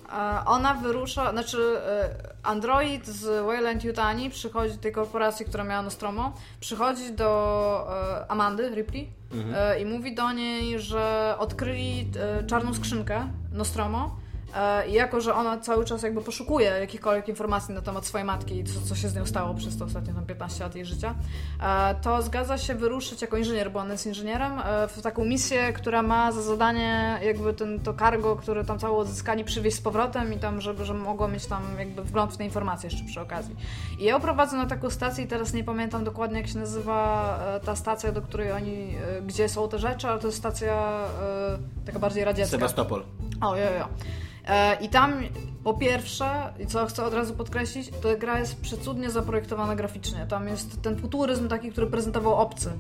B: e, ona wyrusza, znaczy e, Android z Wayland Yutani przychodzi tej korporacji, która miała Nostromo, przychodzi do e, Amandy Ripley e, i mówi do niej, że odkryli e, czarną skrzynkę Nostromo. e, I jako, że ona cały czas jakby poszukuje jakichkolwiek informacji na temat swojej matki i co, co się z nią stało przez te ostatnie tam 15 lat jej życia, e, to zgadza się wyruszyć jako inżynier, bo on jest inżynierem, e, w taką misję, która ma za zadanie jakby ten, to cargo, które tam całe odzyskanie przywieźć z powrotem i tam, żeby, żeby mogło mieć tam jakby wgląd w te informacje jeszcze przy okazji. I ja prowadzę na taką stację i teraz nie pamiętam dokładnie jak się nazywa e, ta stacja, do której oni, e, gdzie są te rzeczy, ale to jest stacja e, taka bardziej radziecka.
C: Sebastopol.
B: O, jo, jo. E, I tam po pierwsze, i co chcę od razu podkreślić, to gra jest przecudnie zaprojektowana graficznie. Tam jest ten futuryzm taki, który prezentował obcy.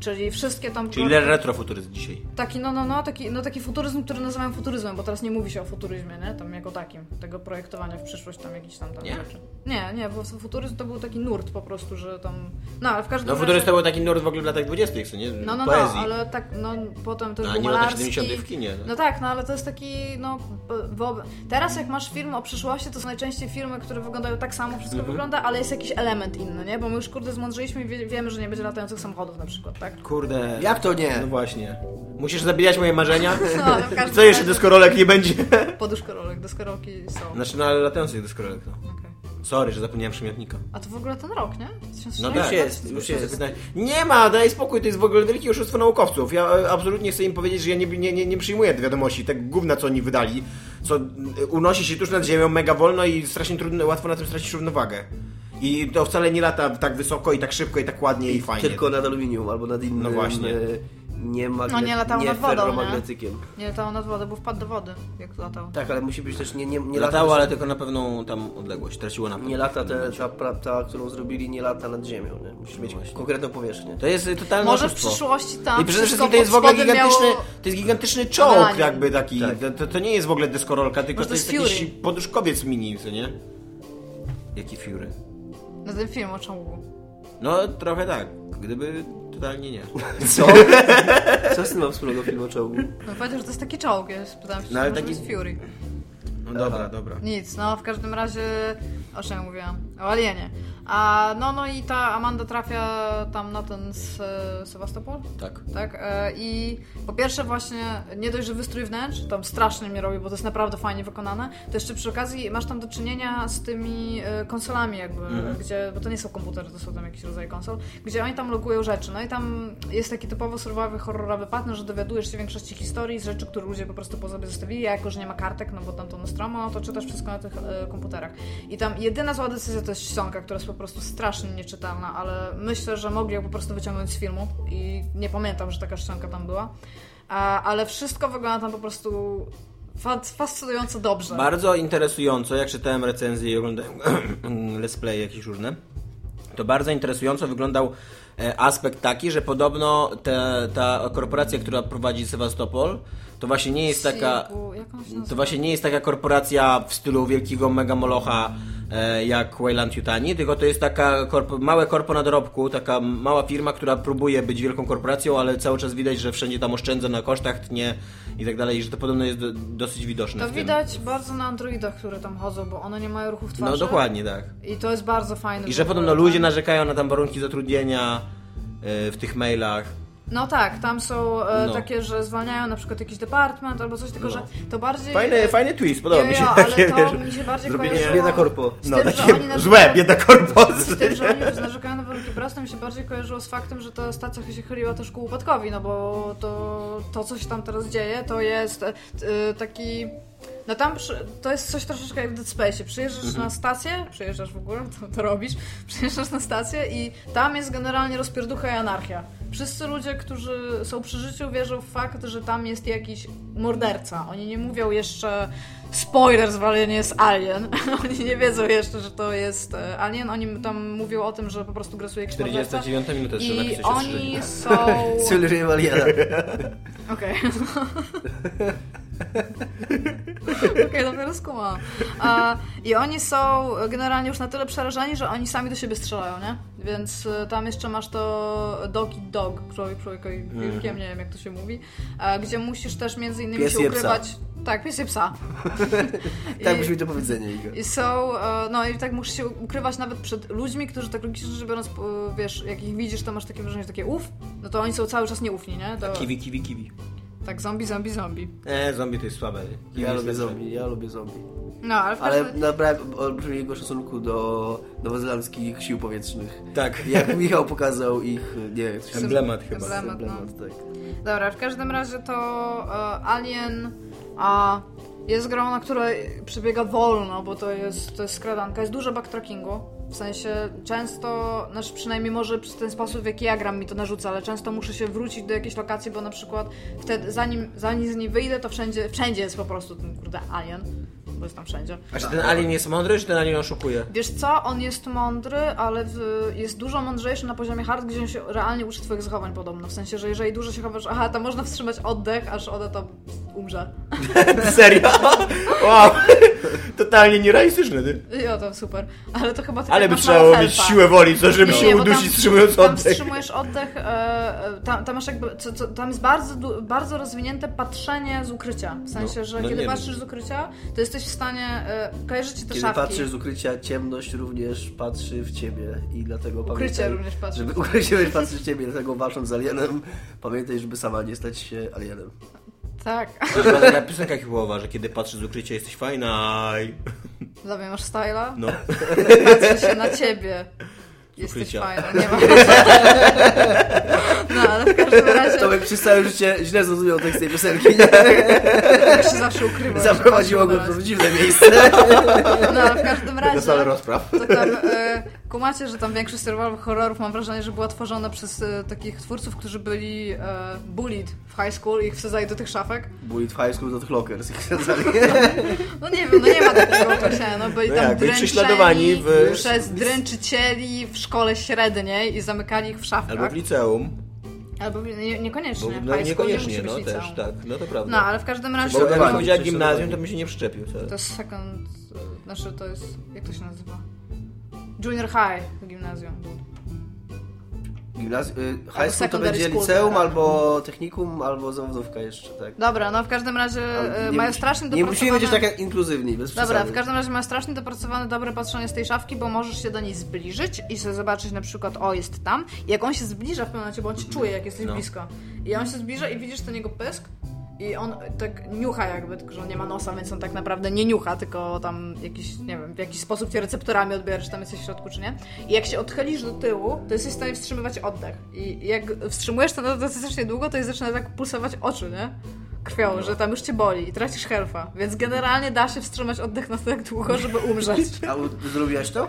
B: Czyli wszystkie tam.
C: Czyli retrofuturyzm dzisiaj.
B: Taki, no, no, no, taki, no, taki futuryzm, który nazywam futuryzmem, bo teraz nie mówi się o futuryzmie, nie? Tam jako takim, tego projektowania w przyszłość, tam jakichś tam, tam
C: Nie?
B: rzeczy. Nie, nie, bo futuryzm to był taki nurt po prostu, że tam. No, ale w każdym
C: No futuryzm to był taki nurt w ogóle w latach 20., co nie?
B: no, no,
C: Poezji.
B: no, ale tak, no potem też no,
C: No, a
B: był
C: nie lata
B: Malarski.
C: 70. w kinie, no.
B: No. tak, no ale to jest taki, no... Bo, teraz jak masz film o przyszłości, to są najczęściej filmy, które wyglądają tak samo, wszystko
C: Mhm.
B: wygląda, ale jest jakiś element inny, nie? Bo my już, kurde, zmądrzyliśmy i wie, wiemy, że nie będzie latających samochodów na przykład, tak?
C: Kurde.
D: Jak to
C: No
D: nie?
C: właśnie. Musisz zabijać moje marzenia?
B: No, ale w każdym
C: Co jeszcze
B: razie-
C: dyskorolek nie będzie?
B: Poduszkorolek, deskorolki są.
C: Znaczy, no ale latających dyskorolek, no.
B: Okej.
C: Sorry, że zapomniałem przymiotnika.
B: A to w ogóle ten rok, nie? 2016?
C: No
D: Już
C: tak.
D: jest, już jest.
C: Nie ma, daj spokój, to jest w ogóle wielkie oszustwo naukowców. Ja e, absolutnie chcę im powiedzieć, że ja nie, nie, nie, nie przyjmuję wiadomości, tak gówna, co oni wydali, co e, unosi się tuż nad ziemią mega wolno i strasznie trudno, łatwo na tym stracić równowagę. I to wcale nie lata tak wysoko i tak szybko i tak ładnie i fajnie.
D: Tylko nad aluminium albo nad innym.
C: No właśnie.
D: y, Nie, magne-
B: No nie latało
D: nie
B: nad wodą,
D: ferromagnetykiem.
B: Nie latał nad wodę, bo wpadł do wody, jak latał.
D: Tak, ale musi być też nie, nie, nie
C: latało, ale
D: lata,
C: tylko na pewną tam odległość, traciło na
D: nie lata te, ta, pra- ta, którą zrobili, nie lata nad ziemią. Nie? Musi mieć konkretną powierzchnię.
C: To jest totalne
B: Może w
C: oszustwo.
B: przyszłości tam
C: no, I przede
B: wszystko
C: wszystkim to jest w
B: pod
C: ogóle
B: spodem
C: gigantyczny,
B: miało-
C: to jest gigantyczny czołg
B: Melanie.
C: jakby taki.
D: Tak.
C: To- To, to nie jest w ogóle deskorolka, tylko
B: Może
C: to
B: to
C: jest,
B: jest
C: jakiś
B: Fury.
C: poduszkowiec mini, co nie? Jaki Fury?
B: Na ten film o ciągu.
C: No trochę tak, gdyby totalnie nie.
D: Co? Co z tym mam wspólnego film o czołgu?
B: No powiedział, że to jest taki czołg, ja się pytałam, czy
C: No,
B: no,
C: ale
B: może
C: taki-
B: być Fury.
C: No dobra, dobra.
B: Nic, no w każdym razie o czym ja mówiłam? O alienie. A no no i ta Amanda trafia tam na ten z e, Sewastopol?
C: Tak.
B: Tak, e, i po pierwsze właśnie nie dość, że wystrój wnętrz, tam strasznie mnie robi, bo to jest naprawdę fajnie wykonane, to jeszcze przy okazji masz tam do czynienia z tymi e, konsolami jakby, gdzie, bo to nie są komputery, to są tam jakieś rodzaje konsol, gdzie oni tam logują rzeczy, no i tam jest taki typowo surowy, horrorowy pattern, że dowiadujesz się większości historii z rzeczy, które ludzie po prostu po sobie zostawili, ja jako, że nie ma kartek, no bo tam to Nostromo, no to czytasz wszystko na tych e, komputerach. I tam jedyna zła decyzja to jest ścianka, która po prostu strasznie nieczytelna, ale myślę, że mogli ją po prostu wyciągnąć z filmu i nie pamiętam, że taka szczęka tam była. A, ale wszystko wygląda tam po prostu fa- fascynująco dobrze.
C: Bardzo interesująco, jak czytałem recenzje i oglądałem let's play jakieś różne, to bardzo interesująco wyglądał e, aspekt taki, że podobno te, ta korporacja, która prowadzi Sewastopol, to właśnie nie jest taka...
B: Siku, jak ona się
C: To
B: nazywa?
C: właśnie nie jest taka korporacja w stylu wielkiego megamolocha e, jak Wayland Yutani, tylko to jest taka korpo, małe korpo na dorobku, taka mała firma, która próbuje być wielką korporacją, ale cały czas widać, że wszędzie tam oszczędza na kosztach, tnie i tak dalej, i że to podobno jest do, dosyć widoczne. w
B: To
C: tym.
B: widać bardzo na androidach, które tam chodzą, bo one nie mają ruchów twarzy.
C: No dokładnie tak.
B: I to jest bardzo fajne.
C: I
B: w
C: że
B: ogóle,
C: podobno
B: tak?
C: ludzie narzekają na tam warunki zatrudnienia e, w tych mailach.
B: No tak, tam są e,
C: No.
B: takie, że zwalniają na przykład jakiś departament albo coś, tylko że to bardziej...
C: Fajny,
B: e,
C: fajny twist, podoba
B: jo,
C: mi się
B: jo,
C: takie,
B: ale to
C: wiesz,
B: mi się bardziej
C: zrobienie-
B: kojarzyło
D: Bieda korpo.
B: z
C: No
B: tym, że oni
C: takie
B: narzekają-
C: złe, biedna korporacja.
B: Z tym, że oni narzekają na warunki pracy, to mi się bardziej kojarzyło z faktem, że ta stacja się chyliła też ku upadkowi, no bo to, to co się tam teraz dzieje, to jest e, e, taki... No tam przy, to jest coś troszeczkę jak w Dead Space. Przyjeżdżasz na stację, przyjeżdżasz w ogóle, to, to robisz, przyjeżdżasz na stację i tam jest generalnie rozpierducha i anarchia. Wszyscy ludzie, którzy są przy życiu, wierzą w fakt, że tam jest jakiś morderca. Oni nie mówią jeszcze spoiler, zwalenie jest Alien. Oni nie wiedzą jeszcze, że to jest e, Alien. Oni tam mówią o tym, że po prostu grasuje jakiś morderca.
C: 49 minuta jeszcze
B: I
C: napisać ostrzeżenie.
B: oni są...
D: Cel Rival 1.
B: Okej. Okej, dopiero skumam. A, I oni są generalnie już na tyle przerażeni, że oni sami do siebie strzelają, nie? Więc y, tam jeszcze masz to dog i dog, człowiek człowiekowi
D: Mhm.
B: wilkiem, nie wiem jak to się mówi, a, gdzie musisz też między innymi
D: Pies
B: się
D: je psa.
B: ukrywać... Tak, pies i psa.
D: Tak
B: I-
D: brzmi to powiedzenie, Igor.
B: i są, e, no i tak musisz się ukrywać nawet przed ludźmi, którzy tak logicznie rzecz biorąc, e, wiesz, jak ich widzisz, to masz takie wrażenie, że takie uf, no to oni są cały czas nieufni, nie? To,
C: Kiwi, kiwi, kiwi.
B: tak, zombie, zombie, zombie.
C: E, zombie to jest słabe. Kiwi
D: Ja
C: jest
D: lubię
C: lepsze.
D: zombie, ja lubię zombie.
B: No, ale w każdym
D: Ale naprawdę olbrzymiego szacunku do nowozelandzkich sił powietrznych.
C: Tak,
D: Jak Michał pokazał ich, nie wiem, jak to się nazywa.
C: emblemat chyba.
B: Emblemat. no.
D: Emblemat, tak.
B: Dobra, w każdym razie to e, Alien a, jest grą, na której przebiega wolno, bo to jest, to jest skradanka. Jest dużo backtrackingu. W sensie często, znaczy przynajmniej może przez ten sposób, w jaki ja gram, mi to narzuca, ale często muszę się wrócić do jakiejś lokacji, bo na przykład wtedy, zanim, zanim z niej wyjdę, to wszędzie, wszędzie jest po prostu ten kurde alien, bo jest tam wszędzie.
C: A czy ten alien jest mądry, czy ten alien oszukuje?
B: Wiesz co, on jest mądry, ale w, jest dużo mądrzejszy na poziomie hard, gdzie on się realnie uczy twoich zachowań podobno. W sensie, że jeżeli dużo się chowasz, aha, to można wstrzymać oddech, aż ona to umrze.
C: Serio? Wow! Totalnie nierealistyczny, ty.
B: I o, to super. Ale to chyba tylko
C: Ale by
B: masz
C: trzeba
B: mało
C: było mieć
B: helpa.
C: siłę woli, co, żeby
B: Nie,
C: się
B: bo tam-
C: udusić wstrzymując
B: Tam
C: oddech.
B: wstrzymujesz oddech, e, e, tam, tam masz jakby, co, co, tam jest bardzo, du- bardzo rozwinięte patrzenie z ukrycia. W sensie,
C: No,
B: że
C: no
B: kiedy
C: nie
B: patrzysz z ukrycia, to jesteś w stanie, e, kojarzycie te
D: Kiedy
B: szafki.
D: patrzysz z ukrycia, ciemność również patrzy w ciebie i dlatego
B: Ukrycie
D: pamiętaj,
B: również patrzy.
D: Żeby ukrycie również patrzy w ciebie, dlatego walcząc z alienem, pamiętaj, żeby sama nie stać się alienem.
B: Tak,
C: To była taka piosenka hip-hopowa, że kiedy patrzysz z ukrycia jesteś fajna.
B: dla mnie masz styla.
C: No,
B: Patrzę się na ciebie. Jesteś
C: ukrycia.
B: fajna, nie ma. No, ale w każdym razie
D: Tomek przez całe życie źle zrozumiał tekst tej piosenki,
B: tak się zawsze ukrywa.
D: zaprowadziło go w dziwne miejsce.
B: No, ale w każdym razie.
D: rozpraw.
B: To tam, e, kumacie, że tam większość serialów horrorów mam wrażenie, że była tworzona przez e, takich twórców, którzy byli e, bullied w high school i ich wsadzali do tych szafek.
D: Bullet w high school do tych lockers.
B: No nie wiem, no nie ma takiego określenia, no byli
C: No
B: tam
C: jak, byli
B: dręczeni
C: prześladowani w-
B: przez dręczycieli w szkole średniej i zamykali ich w szafkach.
C: albo w liceum.
B: Albo w- nie,
C: Bo,
B: niekoniecznie.
C: no,
B: high school nie musi
C: niekoniecznie,
B: być
C: no
B: liceum.
C: też, tak, no to prawda.
B: No, ale w każdym razie...
C: Bo gdybym
D: Prześladowani,
C: powiedziała
D: prześladowani.
C: gimnazjum, to bym się nie przyczepił. Co?
B: To jest second... e, Znaczy to jest... Jak to się nazywa? Junior high w gimnazjum.
D: Gimnaz- y,
B: Albo
D: high school to
B: secondary
D: będzie
B: school,
D: liceum,
B: tak.
D: albo technikum, albo zawodówka jeszcze, tak.
B: Dobra, no w każdym razie e, mają
D: musi-
B: strasznie
D: Nie musimy
B: dopracowane-
D: być tak inkluzywni, bez
B: Dobra,
D: przesady.
B: w każdym razie mają strasznie dopracowane dobre patrzenie z tej szafki, bo możesz się do niej zbliżyć i sobie zobaczyć na przykład, o jest tam. I jak on się zbliża w pewnym momencie, bo on ci czuje, jak jesteś
C: No.
B: blisko. I on się zbliża i widzisz ten jego pysk i on tak niucha jakby, tylko że on nie ma nosa, więc on tak naprawdę nie niucha, tylko tam jakiś, nie wiem, w jakiś sposób cię receptorami odbiera, czy tam jesteś w środku, czy nie. I jak się odchylisz do tyłu, to jesteś w stanie wstrzymywać oddech. I jak wstrzymujesz to dostatecznie długo, to jest zaczyna tak pulsować oczy, nie? krwią, że tam już cię boli i tracisz herfa. Więc generalnie da się wstrzymać oddech na tak długo, żeby umrzeć.
D: A u- zrobiłaś to?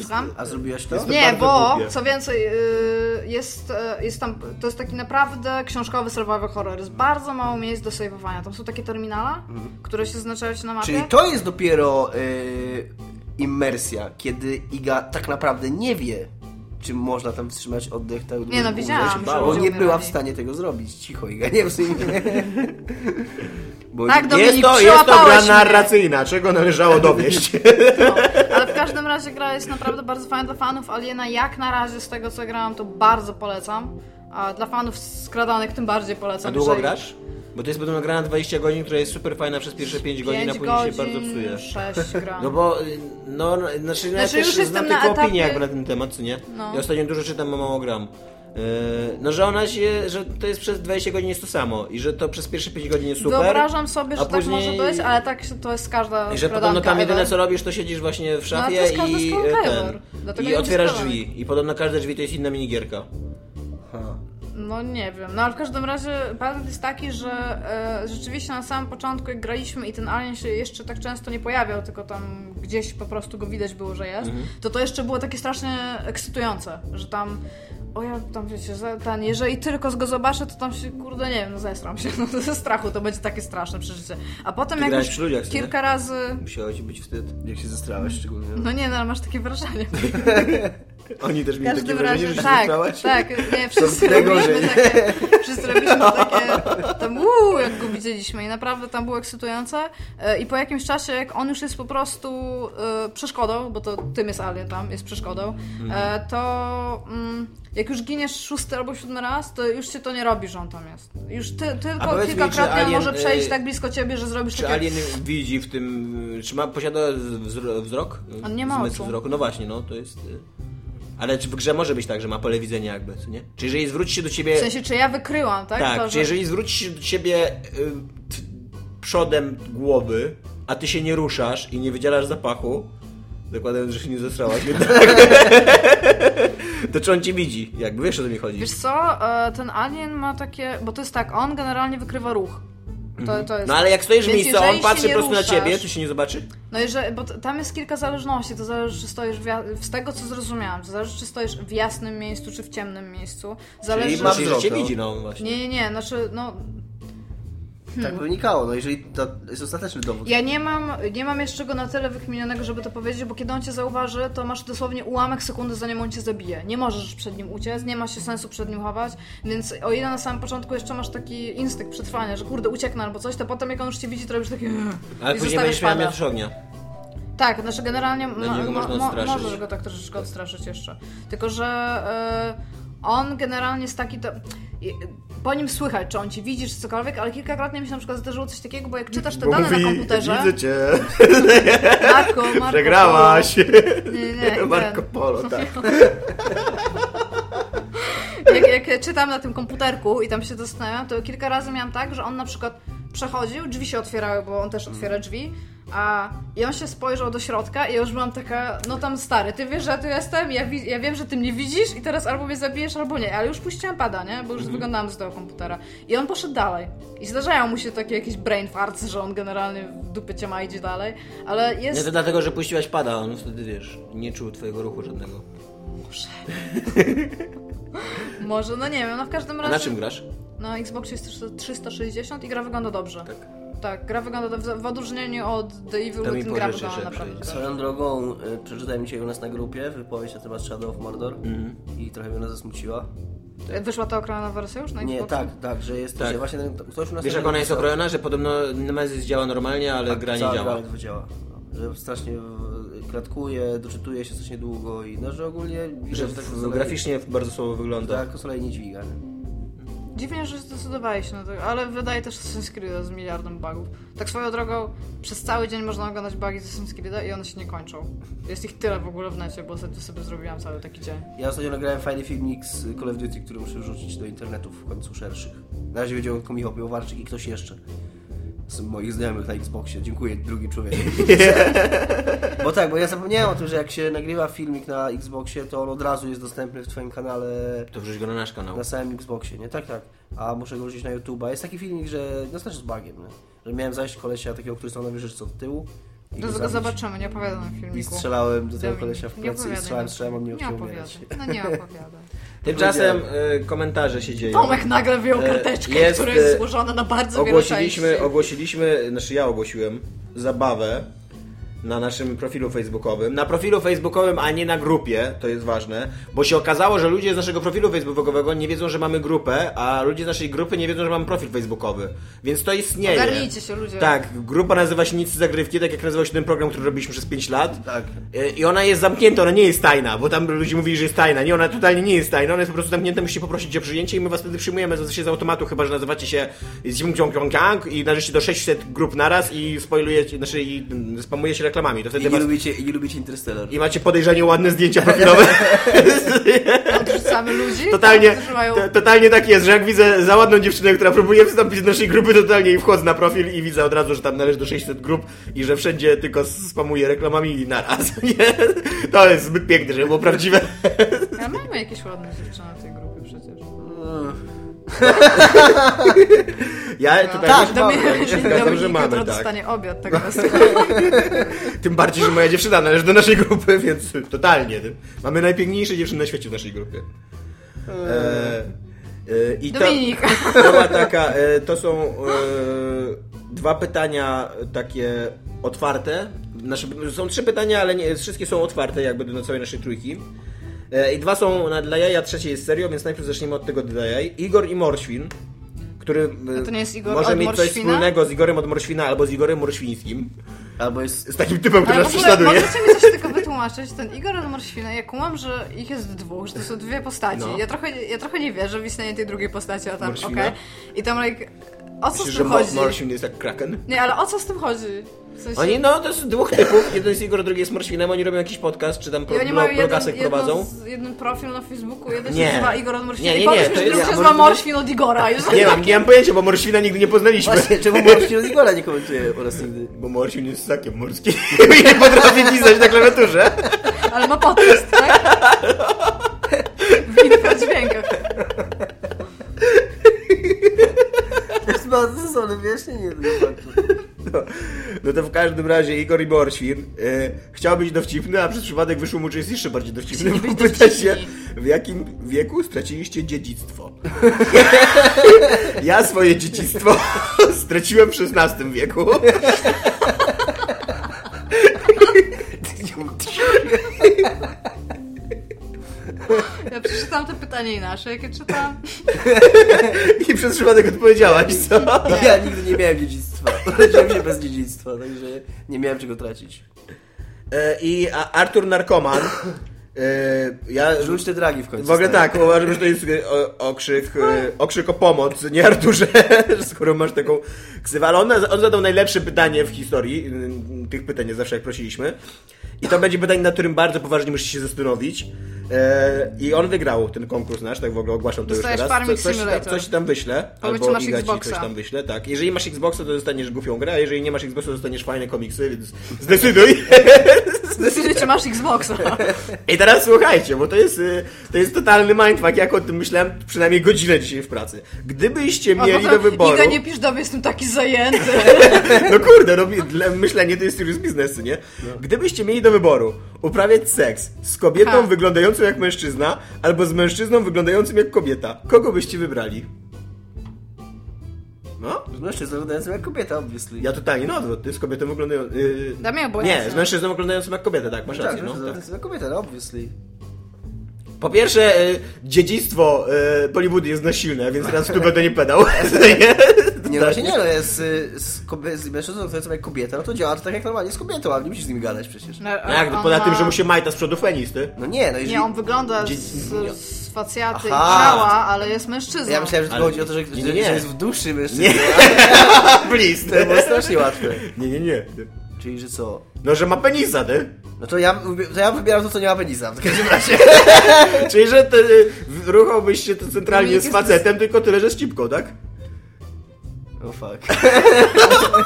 B: Słucham?
D: A zrobiłaś to?
B: Nie, bo
C: głupie.
B: co więcej, y, jest, y, jest tam, to jest taki naprawdę książkowy survival horror. Jest bardzo mało miejsc do saveowania. Tam są takie terminala,
C: Mhm.
B: które się zaznaczają się na mapie.
D: Czyli to jest dopiero y, immersja, kiedy Iga tak naprawdę nie wie, czy można tam wstrzymać oddech tak długo,
B: no,
D: jak
B: wiedziałam,
D: się
B: że
D: bała.
B: ludzie
D: nie była w
B: umierali.
D: stanie tego zrobić. Cicho, Iga, nie w sumie. Bo
B: Tak, do-
C: Jest
B: Dominik,
C: to, jest to gra
B: przyłapałeś mnie.
C: narracyjna, czego należało dowieść.
B: No, Ale w każdym razie gra jest naprawdę bardzo fajna dla fanów Aliena. Jak na razie z tego co grałam, to bardzo polecam. A dla fanów skradanek tym bardziej polecam.
C: A długo
B: że-
C: grasz? Bo to jest podobno gra na 20 godzin, która jest super fajna przez pierwsze 5 godzin, a
B: Pięć
C: później się
B: godzin,
C: bardzo psuje.
B: sześć gram.
C: No bo, y, no, no, znaczy, no ja
B: Znaczy,
C: też
B: już
C: znam
B: jestem na
C: tylko
B: etapie-
C: opinię jakby na ten temat, co nie?
B: No.
C: Ja ostatnio dużo czytam, a mało gram. Yy, No, że ona się, że to jest przez 20 godzin jest to samo i że to przez pierwsze 5 godzin jest super.
B: Wyobrażam sobie,
C: a
B: że tak może być, ale tak się- to jest każda
C: I że
B: skradanka.
C: podobno tam jedyne
B: ever. No,
C: co robisz, to siedzisz właśnie w
B: ale to
C: szafie
B: jest każdy
C: i,
B: Skull
C: e,
B: Driver.
C: ten,
B: Dlatego
C: i
B: nie
C: otwierasz
B: przestałem.
C: drzwi. I podobno każde drzwi to jest inna minigierka.
B: No nie wiem, no ale w każdym razie patent jest taki, że e, rzeczywiście na samym początku jak graliśmy i ten alien się jeszcze tak często nie pojawiał, tylko tam gdzieś po prostu go widać było, że jest,
C: Mhm.
B: to to jeszcze było takie strasznie ekscytujące, że tam o ja tam wiecie, za- ten, jeżeli tylko go zobaczę, to tam się, kurde, nie wiem, no zesram się, no to ze strachu, to będzie takie straszne przeżycie. A potem
C: Ty
B: jak
C: grałeś
B: już
C: przy ludziach, co nie?
B: kilka razy,
C: Musiało ci być wstyd.
D: Jak się zastrałeś szczególnie.
B: no nie, no ale masz takie wrażenie.
C: Oni też
B: W
C: mieli takie
B: każdym
C: wrażenie,
B: razie,
C: że się
B: tak,
C: zesrałaś?
B: tak, nie, wszyscy
D: tyle
B: robiliśmy
D: gorzej.
B: takie, wszyscy robiliśmy
C: No.
B: takie, tam uuu, jak go widzieliśmy i naprawdę tam było ekscytujące E, i po jakimś czasie, jak on już jest po prostu e, przeszkodą, bo to tym jest alien tam, jest przeszkodą,
C: Mhm.
B: e, to mm, jak już giniesz szósty albo siódmy raz, to już się to nie robi, że on tam jest. Już ty, tylko
C: powiedz mi,
B: kilkakrotnie
C: czy
B: on
C: alien,
B: może przejść
C: e,
B: tak blisko ciebie, że zrobisz
C: Czy
B: takie...
C: alien widzi w tym. Czy ma, posiada wzro- wzrok?
B: On nie ma
C: Zmysł
B: oczu.
C: wzroku. No właśnie, no to jest. y, Ale czy w grze może być tak, że ma pole widzenia jakby, co nie? Czy jeżeli zwróci się do ciebie.
B: W sensie, czy ja wykryłam, tak?
C: tak,
B: to,
C: czy jeżeli zwróci się do ciebie y, t- przodem głowy, a ty się nie ruszasz i nie wydzielasz zapachu, zakładając, że się nie zesrałaś, jednak, to czy on ci widzi? Jakby wiesz o co mi chodzi.
B: Wiesz co, e, ten alien ma takie, bo to jest tak, on generalnie wykrywa ruch. To, to jest.
C: No ale jak stoisz w
B: Więc
C: miejscu, a on
B: jeżeli się
C: patrzy po
B: nie
C: prostu na
B: ruszasz-
C: ciebie, to się nie zobaczy?
B: No i że, bo t- tam jest kilka zależności, to zależy, czy stoisz w, ja- z tego co zrozumiałam, to zależy, czy stoisz w jasnym miejscu, czy w ciemnym miejscu. Zależy.
C: Czyli,
D: ma
C: czyli że
D: wzrok,
C: cię
D: no.
C: widzi, no właśnie.
B: Nie, nie, nie, znaczy, no.
D: Tak wynikało, no jeżeli to jest ostateczny dowód.
B: Ja nie mam, nie mam jeszcze go na tyle wykminionego, żeby to powiedzieć, bo kiedy on cię zauważy, to masz dosłownie ułamek sekundy, zanim on cię zabije. Nie możesz przed nim uciec, nie ma się sensu przed nim chować, więc o ile na samym początku jeszcze masz taki instynkt przetrwania, że kurde, ucieknę albo coś, to potem jak on już cię widzi, to robisz takie...
C: Ale
B: i
C: później
B: zostawiasz
C: będziesz miał
B: pada.
C: miotacz ognia.
B: Tak, znaczy generalnie
C: Będzie
B: mo-
C: go
B: mo-
C: można
B: mo-
C: odstraszyć.
B: możesz go tak troszeczkę odstraszyć jeszcze. Tylko, że e, on generalnie jest taki... To, i- po nim słychać, czy on ci widzi, czy cokolwiek, ale kilkakrotnie mi się na przykład zdarzyło coś takiego, bo jak czytasz te dane na komputerze...
C: cię,
B: Marko, Marko Polo. Nie, nie, nie.
C: Polo, tak.
B: Jak, jak czytam na tym komputerku i tam się zastanawiam, to kilka razy miałam tak, że on na przykład przechodził, drzwi się otwierały, bo on też
C: Mm.
B: otwiera drzwi, a i on się spojrzał do środka i ja już byłam taka, no tam stary, ty wiesz, że ja tu jestem, ja, wi- ja wiem, że ty mnie widzisz i teraz albo mnie zabijesz, albo nie, ale już puściłam pada, nie, bo już
C: Mhm.
B: wyglądałam z tego komputera. I on poszedł dalej. I zdarzają mu się takie jakieś brain farts, że on generalnie w dupie cię ma idzie dalej, ale jest...
C: Nie, to dlatego, że puściłaś pada, on wtedy, wiesz, nie czuł twojego ruchu żadnego.
B: Może, no nie wiem, no w każdym
C: A
B: razie...
C: na czym grasz?
B: Na Xbox jest 360 i gra wygląda dobrze. Tak. gra wygląda w, w odróżnieniu od The Evil
C: To mi
B: Within gra
C: pożyczysz
B: wygląda
C: jeszcze.
B: naprawdę dobrze.
D: Swoją drogą, y, przeczytałem dzisiaj u nas na grupie wypowiedź na temat Shadow of Mordor
C: Mhm.
D: i trochę mnie ona zasmuciła.
B: Wyszła ta okrojona wersja już na Xbox?
D: Nie, tak, tak, że jest,
C: Tak.
D: że właśnie ten, ktoś u nas...
C: Wiesz,
D: na
C: jak ona jest
D: grupie-
C: okrojona, że podobno Nemesis działa normalnie, ale gra nie
D: Cała
C: działa.
D: gra działa. no. Że strasznie w- klatkuje, doczytuje się strasznie długo i no, że ogólnie...
C: Że
D: widać,
C: w,
D: konsola-
C: graficznie bardzo słabo wygląda.
D: Tak, konsola jej nie dźwiga. nie?
B: Dziwnie, że zdecydowali się na to, ale wydaje też Assassin's Creed z miliardem bugów. Tak swoją drogą, przez cały dzień można oglądać bugi z Assassin's Creed i one się nie kończą. Jest ich tyle w ogóle w necie, bo ostatnio sobie zrobiłam cały taki dzień.
D: Ja ostatnio nagrałem fajny filmik z Call of Duty, który muszę wrzucić do internetu w końcu szerszych. Na razie wiedział tylko Michał Piłowarczyk i ktoś jeszcze z moich znajomych na Xboxie. Dziękuję, drugi człowiek. bo tak, bo ja zapomniałem o tym, że jak się nagrywa filmik na Xboxie, to on od razu jest dostępny w Twoim kanale
C: To wrzuć go na nasz kanał.
D: na samym Xboxie, nie? Tak, tak. A muszę go wrzucić na YouTube'a. Jest taki filmik, że... No znaczy z bugiem, nie? Że miałem zajść kolesia takiego, który stał na wieżyczce od tyłu i go
B: Do tego
D: zabić.
B: zobaczymy, nie opowiadam w filmiku.
D: I strzelałem do tego
B: Dominik,
D: kolesia w
B: nie
D: plecy i
B: opowiadaj,
D: strzelałem,
B: nie
D: strzelałem, on nie
B: Nie
D: chciał
B: opowiadam.
D: umierać.
B: No nie opowiadam.
C: Tymczasem y, komentarze się dzieją.
B: Tomek nagle wyjął
C: E,
B: karteczkę,
C: jest,
B: która
C: e,
B: jest złożona na bardzo wiele
C: Ogłosiliśmy,
B: części.
C: ogłosiliśmy, znaczy ja ogłosiłem zabawę na naszym profilu facebookowym. Na profilu facebookowym, a nie na grupie, to jest ważne, bo się okazało, że ludzie z naszego profilu facebookowego nie wiedzą, że mamy grupę, a ludzie z naszej grupy nie wiedzą, że mamy profil facebookowy. Więc to istnieje.
B: Ogarnijcie się, ludzie.
C: Tak, grupa nazywa się Nic z Zagrywki, tak jak nazywał się ten program, który robiliśmy przez 5 lat.
D: Tak.
C: Y, I ona jest zamknięta, ona nie jest tajna, bo tam ludzie mówili, że jest tajna. Nie, ona totalnie nie jest tajna, ona jest po prostu zamknięta, musicie poprosić o przyjęcie i my was wtedy przyjmujemy z- się z automatu, chyba że nazywacie się Zim Ciong Ciong Ciang i należycie do 600 grup naraz i spoilujecie, znaczy i mm, spamujecie reklamami. To
D: I
C: wtedy
D: nie
C: was...
D: lubicie, i nie lubicie Interstellar.
C: I macie podejrzanie ładne zdjęcia profilowe.
B: Odrzucamy ludzi,
C: totalnie,
B: którzy mają...
C: to, totalnie tak jest, że jak widzę za ładną dziewczynę, która próbuje wstąpić do naszej grupy, totalnie i wchodzę na profil i widzę od razu, że tam należy do 600 grup i że wszędzie tylko spamuje reklamami i naraz. Nie? To jest zbyt piękne, żeby było prawdziwe.
B: Ale mamy jakieś ładne dziewczyny w tej grupie przecież.
C: No
B: No.
C: Ja tutaj
D: Tak,
C: już
B: Dominik,
C: mam, ja się zgadzam,
B: Dominik
C: że
B: jutro
C: mamy, tak.
B: dostanie obiad tego nas-
C: Tym bardziej, że moja dziewczyna należy do naszej grupy, więc totalnie. Mamy najpiękniejsze dziewczyny na świecie w naszej grupie. E, e, i to-
B: Dominik.
C: To była taka, e, to są e, dwa pytania takie otwarte. Nasze, są trzy pytania, ale nie, wszystkie są otwarte jakby do całej naszej trójki. E, I dwa są na, dla jaja, trzecie jest serio, więc najpierw zaczniemy od tego dla jaj. Igor i Morświn, który e,
B: to nie jest Igor
C: może
B: od
C: mieć coś
B: Morświna?
C: wspólnego z Igorem od Morświna albo z Igorem Morświńskim.
D: Albo jest...
C: Z takim typem, który
B: Ale
C: nas
B: w ogóle
C: prześladuje.
B: możecie mi coś tylko wytłumaczyć. Ten Igor od Morświna, ja kumam, że ich jest dwóch, że to są dwie postaci.
C: No.
B: Ja, trochę, ja trochę nie wierzę w istnienie tej drugiej postaci, a tam okej.
C: Morświna?
B: I tam like, o co
C: Myślisz,
B: z
C: że
B: tym
C: Mo-
B: chodzi?
C: Morświn jest jak kraken?
B: Nie, ale o co z tym chodzi? W sensie,
C: Oni, no, to jest dwóch typów. Jeden jest Igor, drugi jest Morświnem. Oni robią jakiś podcast, czy tam
B: I
C: pro,
B: oni
C: blog,
B: mają
C: blogasek
B: jeden,
C: prowadzą.
B: jedno z, jeden profil na Facebooku, jeden
C: Nie.
B: się nazywa Igor od Morświna
C: Nie, nie,
B: i
C: nie,
B: powiedz
C: to
B: mi, że
C: jest-
B: drugi
C: a
B: się
C: może
B: nazywa
C: to-
B: Morświn od Igora. Już
C: Nie mam, nie mam pojęcia, bo Morświna nigdy nie poznaliśmy.
D: Właśnie, czemu Morsi od Igora nie komentuje po raz nigdy?
C: Bo Morświn jest ssakiem morskim i nie potrafi pisać na klawiaturze.
B: Ale ma podcast, tak? W infrodźwiękach.
D: To jest bardzo stosowne wyjaśnienie tego faktu.
C: No, no to w każdym razie Igor i Morświn e, chciał być dowcipny, a przez przypadek wyszło mu, że jest jeszcze bardziej dowcipny,
B: Chcieli
C: bo
B: być
C: pyta się,
B: dowcipni.
C: w jakim wieku straciliście dziedzictwo? ja swoje dziedzictwo straciłem w XVI wieku.
B: Ja przeczytałam to pytanie inaczej, jakie czytałam.
C: I przez przypadek odpowiedziałaś, co?
D: Ja nigdy nie miałem dziedzictwa. Urodziłem się bez dziedzictwa, także nie miałem czego tracić.
C: E, I a, Artur Narkoman. E, ja
D: Rzuć te dragi w końcu.
C: W ogóle
D: stary.
C: tak, uważam, że to jest e, o- okrzyk, e, okrzyk o pomoc, nie Arturze, skoro masz taką ksywę. Ale on, na- on zadał najlepsze pytanie w historii, y, tych pytań jest zawsze jak prosiliśmy. I to będzie pytanie, nad którym bardzo poważnie musisz się zastanowić. E, I on wygrał ten konkurs nasz, tak w ogóle ogłaszam to
B: Dostajesz
C: już teraz.
B: Farming
C: coś, tam,
B: Simulator.
C: coś tam wyślę,
B: Powiedz,
C: albo
B: czy masz
C: Iga ci coś
B: Xboxa.
C: tam wyślę, tak. Jeżeli masz Xboxa, to dostaniesz głupią grę, a jeżeli nie masz Xboxa, to dostaniesz fajne komiksy, więc zdecyduj.
B: Decyduj, czy masz Xboxa.
C: I teraz słuchajcie, bo to jest, y, to jest totalny mindfuck, jak o tym myślałem przynajmniej godzinę dzisiaj w pracy. Gdybyście
B: A
C: mieli
B: potem,
C: do wyboru...
B: Iga, nie pisz do mnie, jestem taki zajęty.
C: No kurde, no, dla- myślenie to jest serious biznesu, nie? Gdybyście mieli do wyboru uprawiać seks z kobietą
B: Ha.
C: wyglądającą jak mężczyzna, albo z mężczyzną wyglądającym jak kobieta, kogo byście wybrali? No?
D: Z mężczyzną wyglądającym jak kobieta, obviously.
C: Ja totalnie na odwrót, ty z kobietą wyglądającą... Yy...
B: Dla mnie obojętne.
C: Nie, z mężczyzną wyglądającym jak kobieta, tak, masz
D: tak,
C: rację,
D: mężczyzna
C: no. Tak.
D: wyglądającym jak kobieta, no obviously.
C: Po pierwsze, y, dziedzictwo y, Bollywoodu jest na silne, więc teraz w tym będę nie pedał. Tak.
D: Nie, właśnie nie, no jest y, z, kobie- z mężczyzną wyglądającym jak kobieta, no to działa to tak jak normalnie z kobietą, ale nie musisz z nimi gadać przecież.
B: No,
C: Jak,
B: on
C: poza
B: ma-
C: tym, że mu się majta z przodu fenisty.
D: No nie, no jeżeli...
B: Nie, on wygląda
C: Dzie-
B: z, z facjaty
D: Aha.
B: i ciała, ale jest mężczyzną.
D: Ja myślałem, że tu
C: Ale-
D: chodzi o to, że,
C: Nie, nie,
D: że,
C: nie.
D: że jest w duszy mężczyzna.
C: Nie. Blist.
D: To było No, strasznie łatwe.
C: Nie, nie, nie.
D: Czyli, że co?
C: No, że ma penisa, ty.
D: No to ja, to ja wybieram to, co nie ma penisa, w każdym razie.
C: Czyli, że ty, y, ruchałbyś się to centralnie
B: Dominik
C: z
B: jest
C: facetem, tylko tyle, że z cipką, tak?
D: Oh fuck.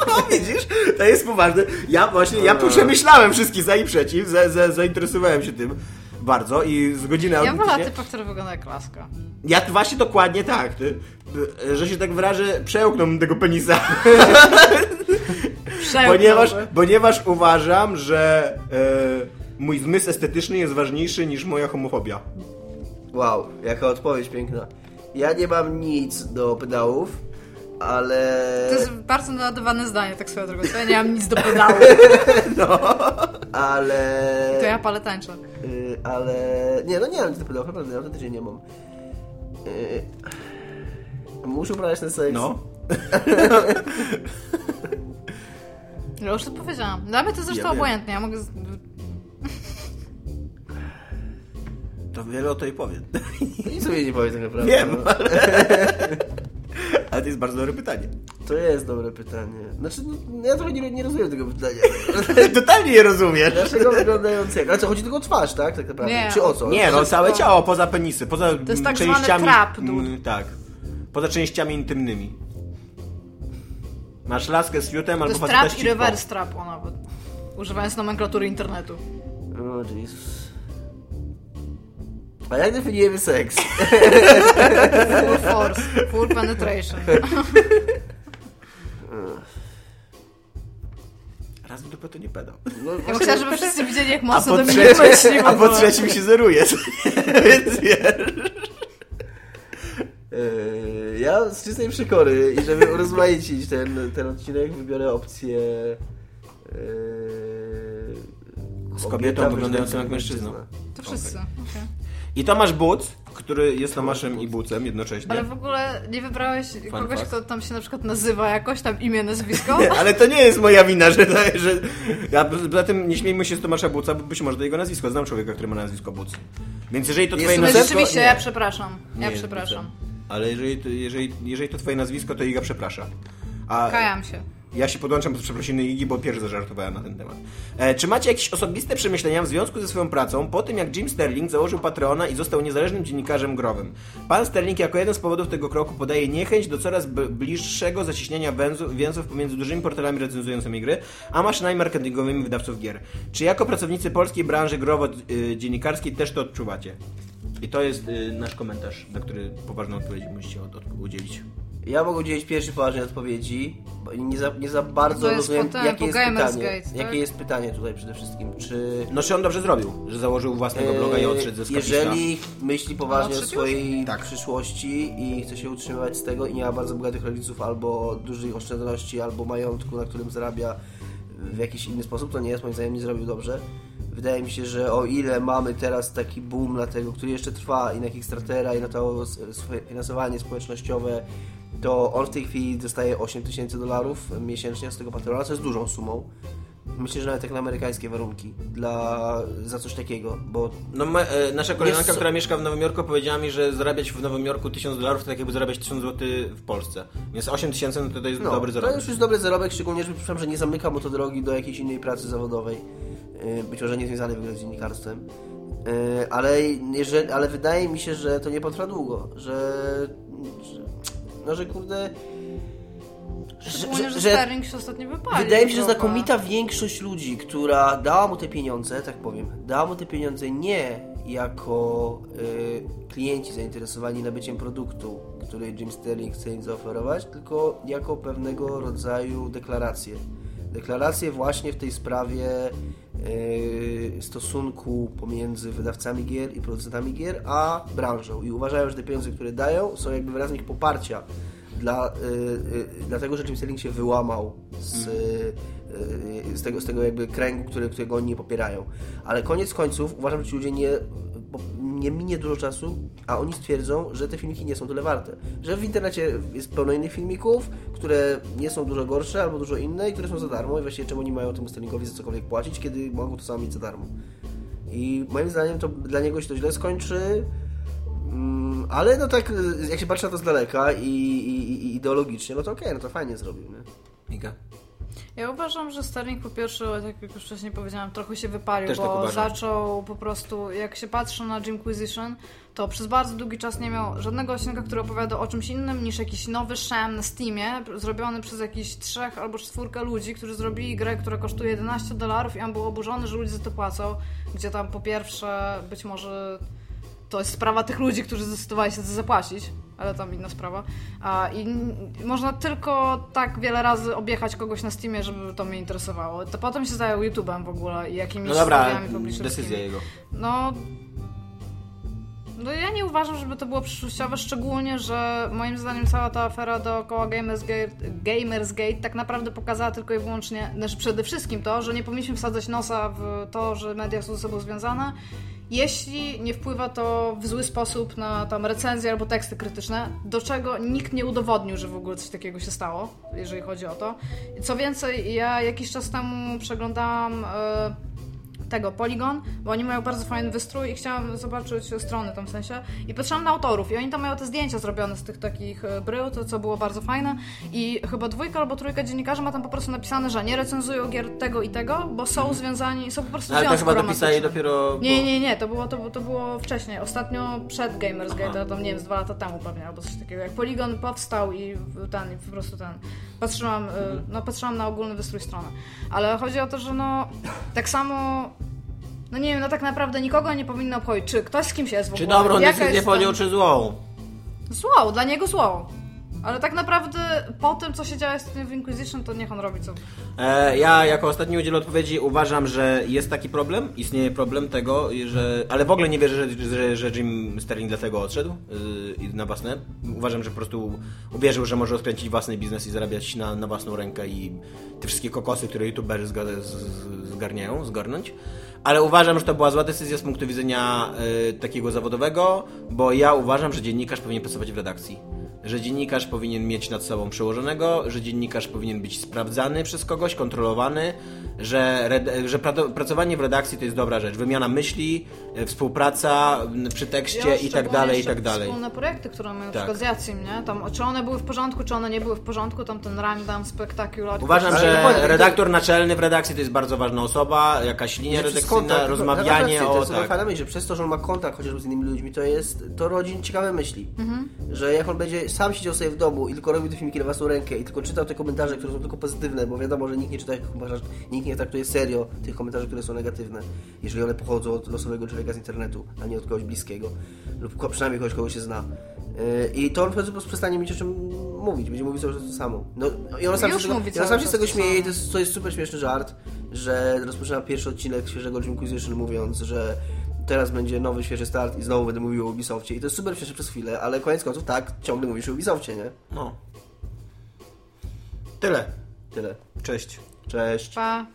C: No widzisz, to jest poważne. Ja właśnie, ja
D: Eee.
C: przemyślałem wszystkich za i przeciw, za, za, zainteresowałem się tym bardzo i z godziny
B: Ja wolę
C: autentycznie-
B: typa, który wygląda jak laska.
C: Ja t- właśnie dokładnie tak, ty, y, że się tak wyrażę, przełknął tego penisa.
B: Przełknął.
C: Ponieważ, ponieważ uważam, że e, mój zmysł estetyczny jest ważniejszy niż moja homofobia.
D: Wow, jaka odpowiedź piękna. Ja nie mam nic do pedałów, ale...
B: To jest bardzo naładowane zdanie, tak swoją drogą. To ja nie mam nic do pedału,
D: Ale...
B: to ja palę tańczę.
D: Y, ale... Nie, no nie mam nic do pedałów, naprawdę, ja autentycznie nie mam. Y, Muszę uprawiać ten seks.
C: No.
B: No już to powiedziałam. Dla mnie to zresztą
C: Ja wiem.
B: obojętnie, ja mogę... z-
C: To wiele o tej powiem.
D: Nic sobie nie powiem tak naprawdę.
C: Wiem,
D: No.
C: ale... ale to jest bardzo dobre pytanie.
D: To jest dobre pytanie. Znaczy, no, ja trochę nie, nie rozumiem tego pytania.
C: Totalnie nie rozumiesz.
D: Dlaczego wyglądającego? Ale co, chodzi tylko o twarz, tak? Tak naprawdę.
B: Nie.
D: Czy o co?
C: Nie, no całe ciało, poza penisy, poza
B: To jest tak zwany
C: częściami...
B: trap, dude.
C: mm, tak. Poza częściami intymnymi. Masz laskę z fiutem
B: To
C: albo
B: jest
C: faceta
B: trap
C: z
B: i
C: cipką.
B: reverse trap, o nawet. Używając nomenklatury internetu.
D: O Jezus. A jak definiujemy seks?
B: Full force, full penetration.
C: Raz w dupę to nie pedał.
D: No,
B: Ja
D: właśnie-
B: myślałam, żeby wszyscy widzieli, jak
C: A
B: mocno
C: po,
B: do mnie
C: trzecie,
B: myśliło.
C: a po trzecim się zeruje.
D: E,
C: Więc wiesz.
D: Eee, ja z czystej przekory i żeby urozmaicić ten, ten odcinek, wybiorę opcję... e, eee,
C: Z kobietą wyglądającą jak mężczyzna.
B: To wszyscy, okej.
C: I Tomasz Buc, który jest Tomaszem i Bucem jednocześnie.
B: Ale w ogóle nie wybrałeś kogoś,
C: fact.
B: kto tam się na przykład nazywa jakoś, tam imię, nazwisko?
C: Ale to nie jest moja wina, że... że ja, za tym nie śmiejmy się z Tomasza Buca, bo być może to jego nazwisko. Znam człowieka, który ma nazwisko Buc. Więc jeżeli to
D: Jest
C: twoje
B: No
D: Nazwisko?
C: nazwisko...
B: rzeczywiście,
D: Nie.
B: ja przepraszam. Ja
C: Nie jest
B: przepraszam.
C: Bucem. Ale jeżeli, to- jeżeli, jeżeli to twoje nazwisko, to Iga przeprasza. A
B: Kajam się.
C: ja się podłączam pod przeprosiny Igi, bo pierwszy zażartowałem na ten temat. E, czy macie jakieś osobiste przemyślenia w związku ze swoją pracą po tym, jak Jim Sterling założył Patreona i został niezależnym dziennikarzem growym? Pan Sterling jako jeden z powodów tego kroku podaje niechęć do coraz b- bliższego zacieśniania węzu- więzów pomiędzy dużymi portalami recenzującymi gry, a maszynami marketingowymi wydawców gier. Czy jako pracownicy polskiej branży growo-dziennikarskiej też to odczuwacie? I to jest y, nasz komentarz, na który poważną odpowiedź musicie od, od, udzielić.
D: Ja mogę udzielić pierwszej poważnej odpowiedzi, bo nie za, nie za bardzo
B: To jest
D: rozumiem,
B: potem,
D: jakie
B: po
D: jest
B: Gamers
D: pytanie.
B: Gate, tak?
D: Jakie jest pytanie tutaj przede wszystkim? Czy...
C: No czy on dobrze zrobił, że założył własnego bloga i odszedł ze
D: Eee,
C: skarbnika?
D: Jeżeli myśli poważnie o
B: odszedł
D: swojej
C: Tak.
D: przyszłości i chce się utrzymywać z tego i nie ma bardzo bogatych rodziców albo dużych oszczędności, albo majątku, na którym zarabia w jakiś inny sposób, to nie jest moim zdaniem nie zrobił dobrze. Wydaje mi się, że o ile mamy teraz taki boom na tego, który jeszcze trwa i na Kickstartera i na to s- swoje finansowanie społecznościowe, to on w tej chwili dostaje 8 tysięcy dolarów miesięcznie z tego patrona, co jest dużą sumą. Myślę, że nawet jak na amerykańskie warunki dla, za coś takiego, bo
C: No ma, e, nasza koleżanka,
D: Wiesz co-
C: która mieszka w Nowym Jorku powiedziała mi, że zarabiać w Nowym Jorku 1000 dolarów to tak jakby zarabiać 1000 zł w Polsce. Więc 8000 no to, to jest
D: no,
C: dobry
D: to
C: zarobek.
D: już jest dobry zarobek, szczególnie, że przypuszczam, że nie zamyka mu to drogi do jakiejś innej pracy zawodowej, yy, być może nie związanej w ogóle z dziennikarstwem, Yy, ale, jeżeli, ale wydaje mi się, że to nie potrwa długo, że, że no, że kurde...
B: Szczególnie, że Sterling się ostatnio wypalił.
D: Wydaje mi się, że
B: Dobra.
D: znakomita większość ludzi, która dała mu te pieniądze, tak powiem, dała mu te pieniądze nie jako y, klienci zainteresowani nabyciem produktu, który Jim Sterling chce im zaoferować, tylko jako pewnego rodzaju deklarację. Deklarację właśnie w tej sprawie y, stosunku pomiędzy wydawcami gier i producentami gier, a branżą. I uważają, że te pieniądze, które dają, są jakby wyrazem ich poparcia dla, y, y, dlatego, że Jim Sterling się wyłamał z, y, y, z, tego, z tego jakby kręgu, który, którego oni nie popierają. Ale koniec końców uważam, że ci ludzie nie, bo nie minie dużo czasu, a oni stwierdzą, że te filmiki nie są tyle warte. Że w internecie jest pełno innych filmików, które nie są dużo gorsze albo dużo inne i które są za darmo i właściwie czemu oni mają temu Sterlingowi za cokolwiek płacić, kiedy mogą to samo mieć za darmo. I moim zdaniem to dla niego się to źle skończy. Mm, ale no tak, y, jak się patrzy na to z daleka i, i, i- i ideologicznie, no to okej, no to fajnie zrobił, nie?
C: Iga.
B: Ja uważam, że Sterling po pierwsze, tak jak już wcześniej powiedziałam, trochę się wypalił,
C: Też tak
B: bo
C: uważam.
B: zaczął po prostu, jak się patrzy na Jimquisition, to przez bardzo długi czas nie miał żadnego odcinka, który opowiada o czymś innym niż jakiś nowy szem na Steamie, pr- zrobiony przez jakiś trzech albo czwórkę ludzi, którzy zrobili grę, która kosztuje 11 dolarów i on był oburzony, że ludzie za to płacą, gdzie tam po pierwsze być może to jest sprawa tych ludzi, którzy zdecydowali się za to zapłacić, ale tam inna sprawa. A, I n- można tylko tak wiele razy objechać kogoś na Steamie, żeby to mnie interesowało. To potem się zajął YouTube'em w ogóle i jakimiś
C: No dobra,
B: studiami publicznymi.
C: decyzja jego.
B: No. No ja nie uważam, żeby to było przyszłościowe, szczególnie, że moim zdaniem cała ta afera dookoła Gamersgate, Gamersgate tak naprawdę pokazała tylko i wyłącznie, znaczy przede wszystkim to, że nie powinniśmy wsadzać nosa w to, że media są ze sobą związane, jeśli nie wpływa to w zły sposób na tam recenzje albo teksty krytyczne, do czego nikt nie udowodnił, że w ogóle coś takiego się stało, jeżeli chodzi o to. Co więcej, ja jakiś czas temu przeglądałam... e, tego Polygon, bo oni mają bardzo fajny wystrój i chciałam zobaczyć strony tam w sensie i patrzyłam na autorów i oni tam mają te zdjęcia zrobione z tych takich e, brył, to co było bardzo fajne i chyba dwójka albo trójka dziennikarzy ma tam po prostu napisane, że nie recenzują gier tego i tego, bo są związani, są po prostu w
C: Mhm. Ale to
B: związku
C: chyba dopisali
B: romantycznym.
C: dopiero...
B: Nie, nie, nie, to było, to, było- to było wcześniej. Ostatnio przed Gamersgate, tam nie wiem, z dwa lata temu pewnie, albo coś takiego. Jak Polygon powstał i w- ten, i po prostu ten. Patrzyłam, y, no, patrzyłam na ogólny wystrój strony. Ale chodzi o to, że no, tak samo. No nie wiem, no tak naprawdę nikogo nie powinno obchodzić. Czy ktoś z kimś jest w ogóle?
C: Czy dobrą
B: Jaka
C: decyzję
B: jest tam-
C: podjął, czy złą?
B: Zło, dla niego zło. Ale tak naprawdę po tym, co się dzieje z tym w Inquisition, to niech on robi co.
C: E, ja jako ostatni udziel odpowiedzi uważam, że jest taki problem, istnieje problem tego, że... Ale w ogóle nie wierzę, że, że, że Jim Sterling dlatego odszedł yy, i na własne. Uważam, że po prostu uwierzył, że może rozkręcić własny biznes i zarabiać na, na własną rękę i te wszystkie kokosy, które youtuberzy zga, z, z- zgarniają, zgarnąć. Ale uważam, że to była zła decyzja z punktu widzenia yy, takiego zawodowego, bo ja uważam, że dziennikarz powinien pracować w redakcji że dziennikarz powinien mieć nad sobą przełożonego, że dziennikarz powinien być sprawdzany przez kogoś, kontrolowany, że, red- że pra- pracowanie w redakcji to jest dobra rzecz. Wymiana myśli, e, współpraca m, przy tekście i tak
B: szczególnie
C: dalej, i
B: jeszcze
C: tak dalej.
B: Wspólne projekty, które mamy na
C: Tak.
B: przykład z Jacim, nie? Tam, czy one były w porządku, czy one nie były w porządku, tam ten random, spektakular.
C: Uważam,
D: Ale
C: że
D: dokładnie, to-
C: redaktor naczelny w redakcji to jest bardzo ważna osoba, jakaś linia
D: Że przez
C: redakcyjna,
D: kontakt, na redakcji,
C: rozmawianie
D: Znaczy, To
C: o...
D: jest tak.
C: Tak.
D: fajna myśl, że przez to, że on ma kontakt chociażby z innymi ludźmi, to jest, to rodzi ciekawe myśli.
B: Mhm.
D: Że jak on będzie sam siedział sobie w domu i tylko robił te filmiki na własną rękę i tylko czytał te komentarze, które są tylko pozytywne, bo wiadomo, że nikt nie czyta, tych komentarzy- nikt nie traktuje serio tych komentarzy, które są negatywne, jeżeli one pochodzą od losowego człowieka z internetu, a nie od kogoś bliskiego lub ko- przynajmniej kogoś, kogo się zna. Yy, I to on w końcu po prostu przestanie mieć o czym mówić, będzie mówił cały czas to samo. No, I on sam
B: Już
D: się, z tego-
B: mówi
D: i on
B: cały
D: sam się
B: czas
D: z tego
B: to
D: śmieje
B: samo.
D: i to jest, to jest super śmieszny żart, że rozpoczynam pierwszy odcinek świeżego Inquisition mówiąc, że teraz będzie nowy, świeży start i znowu będę mówił o Ubisoftie. I to jest super śmieszne przez chwilę, ale koniec końców tak, ciągle mówisz o Ubisoftie, nie?
C: No. Tyle.
D: Tyle.
C: Cześć.
D: Cześć.
B: Pa.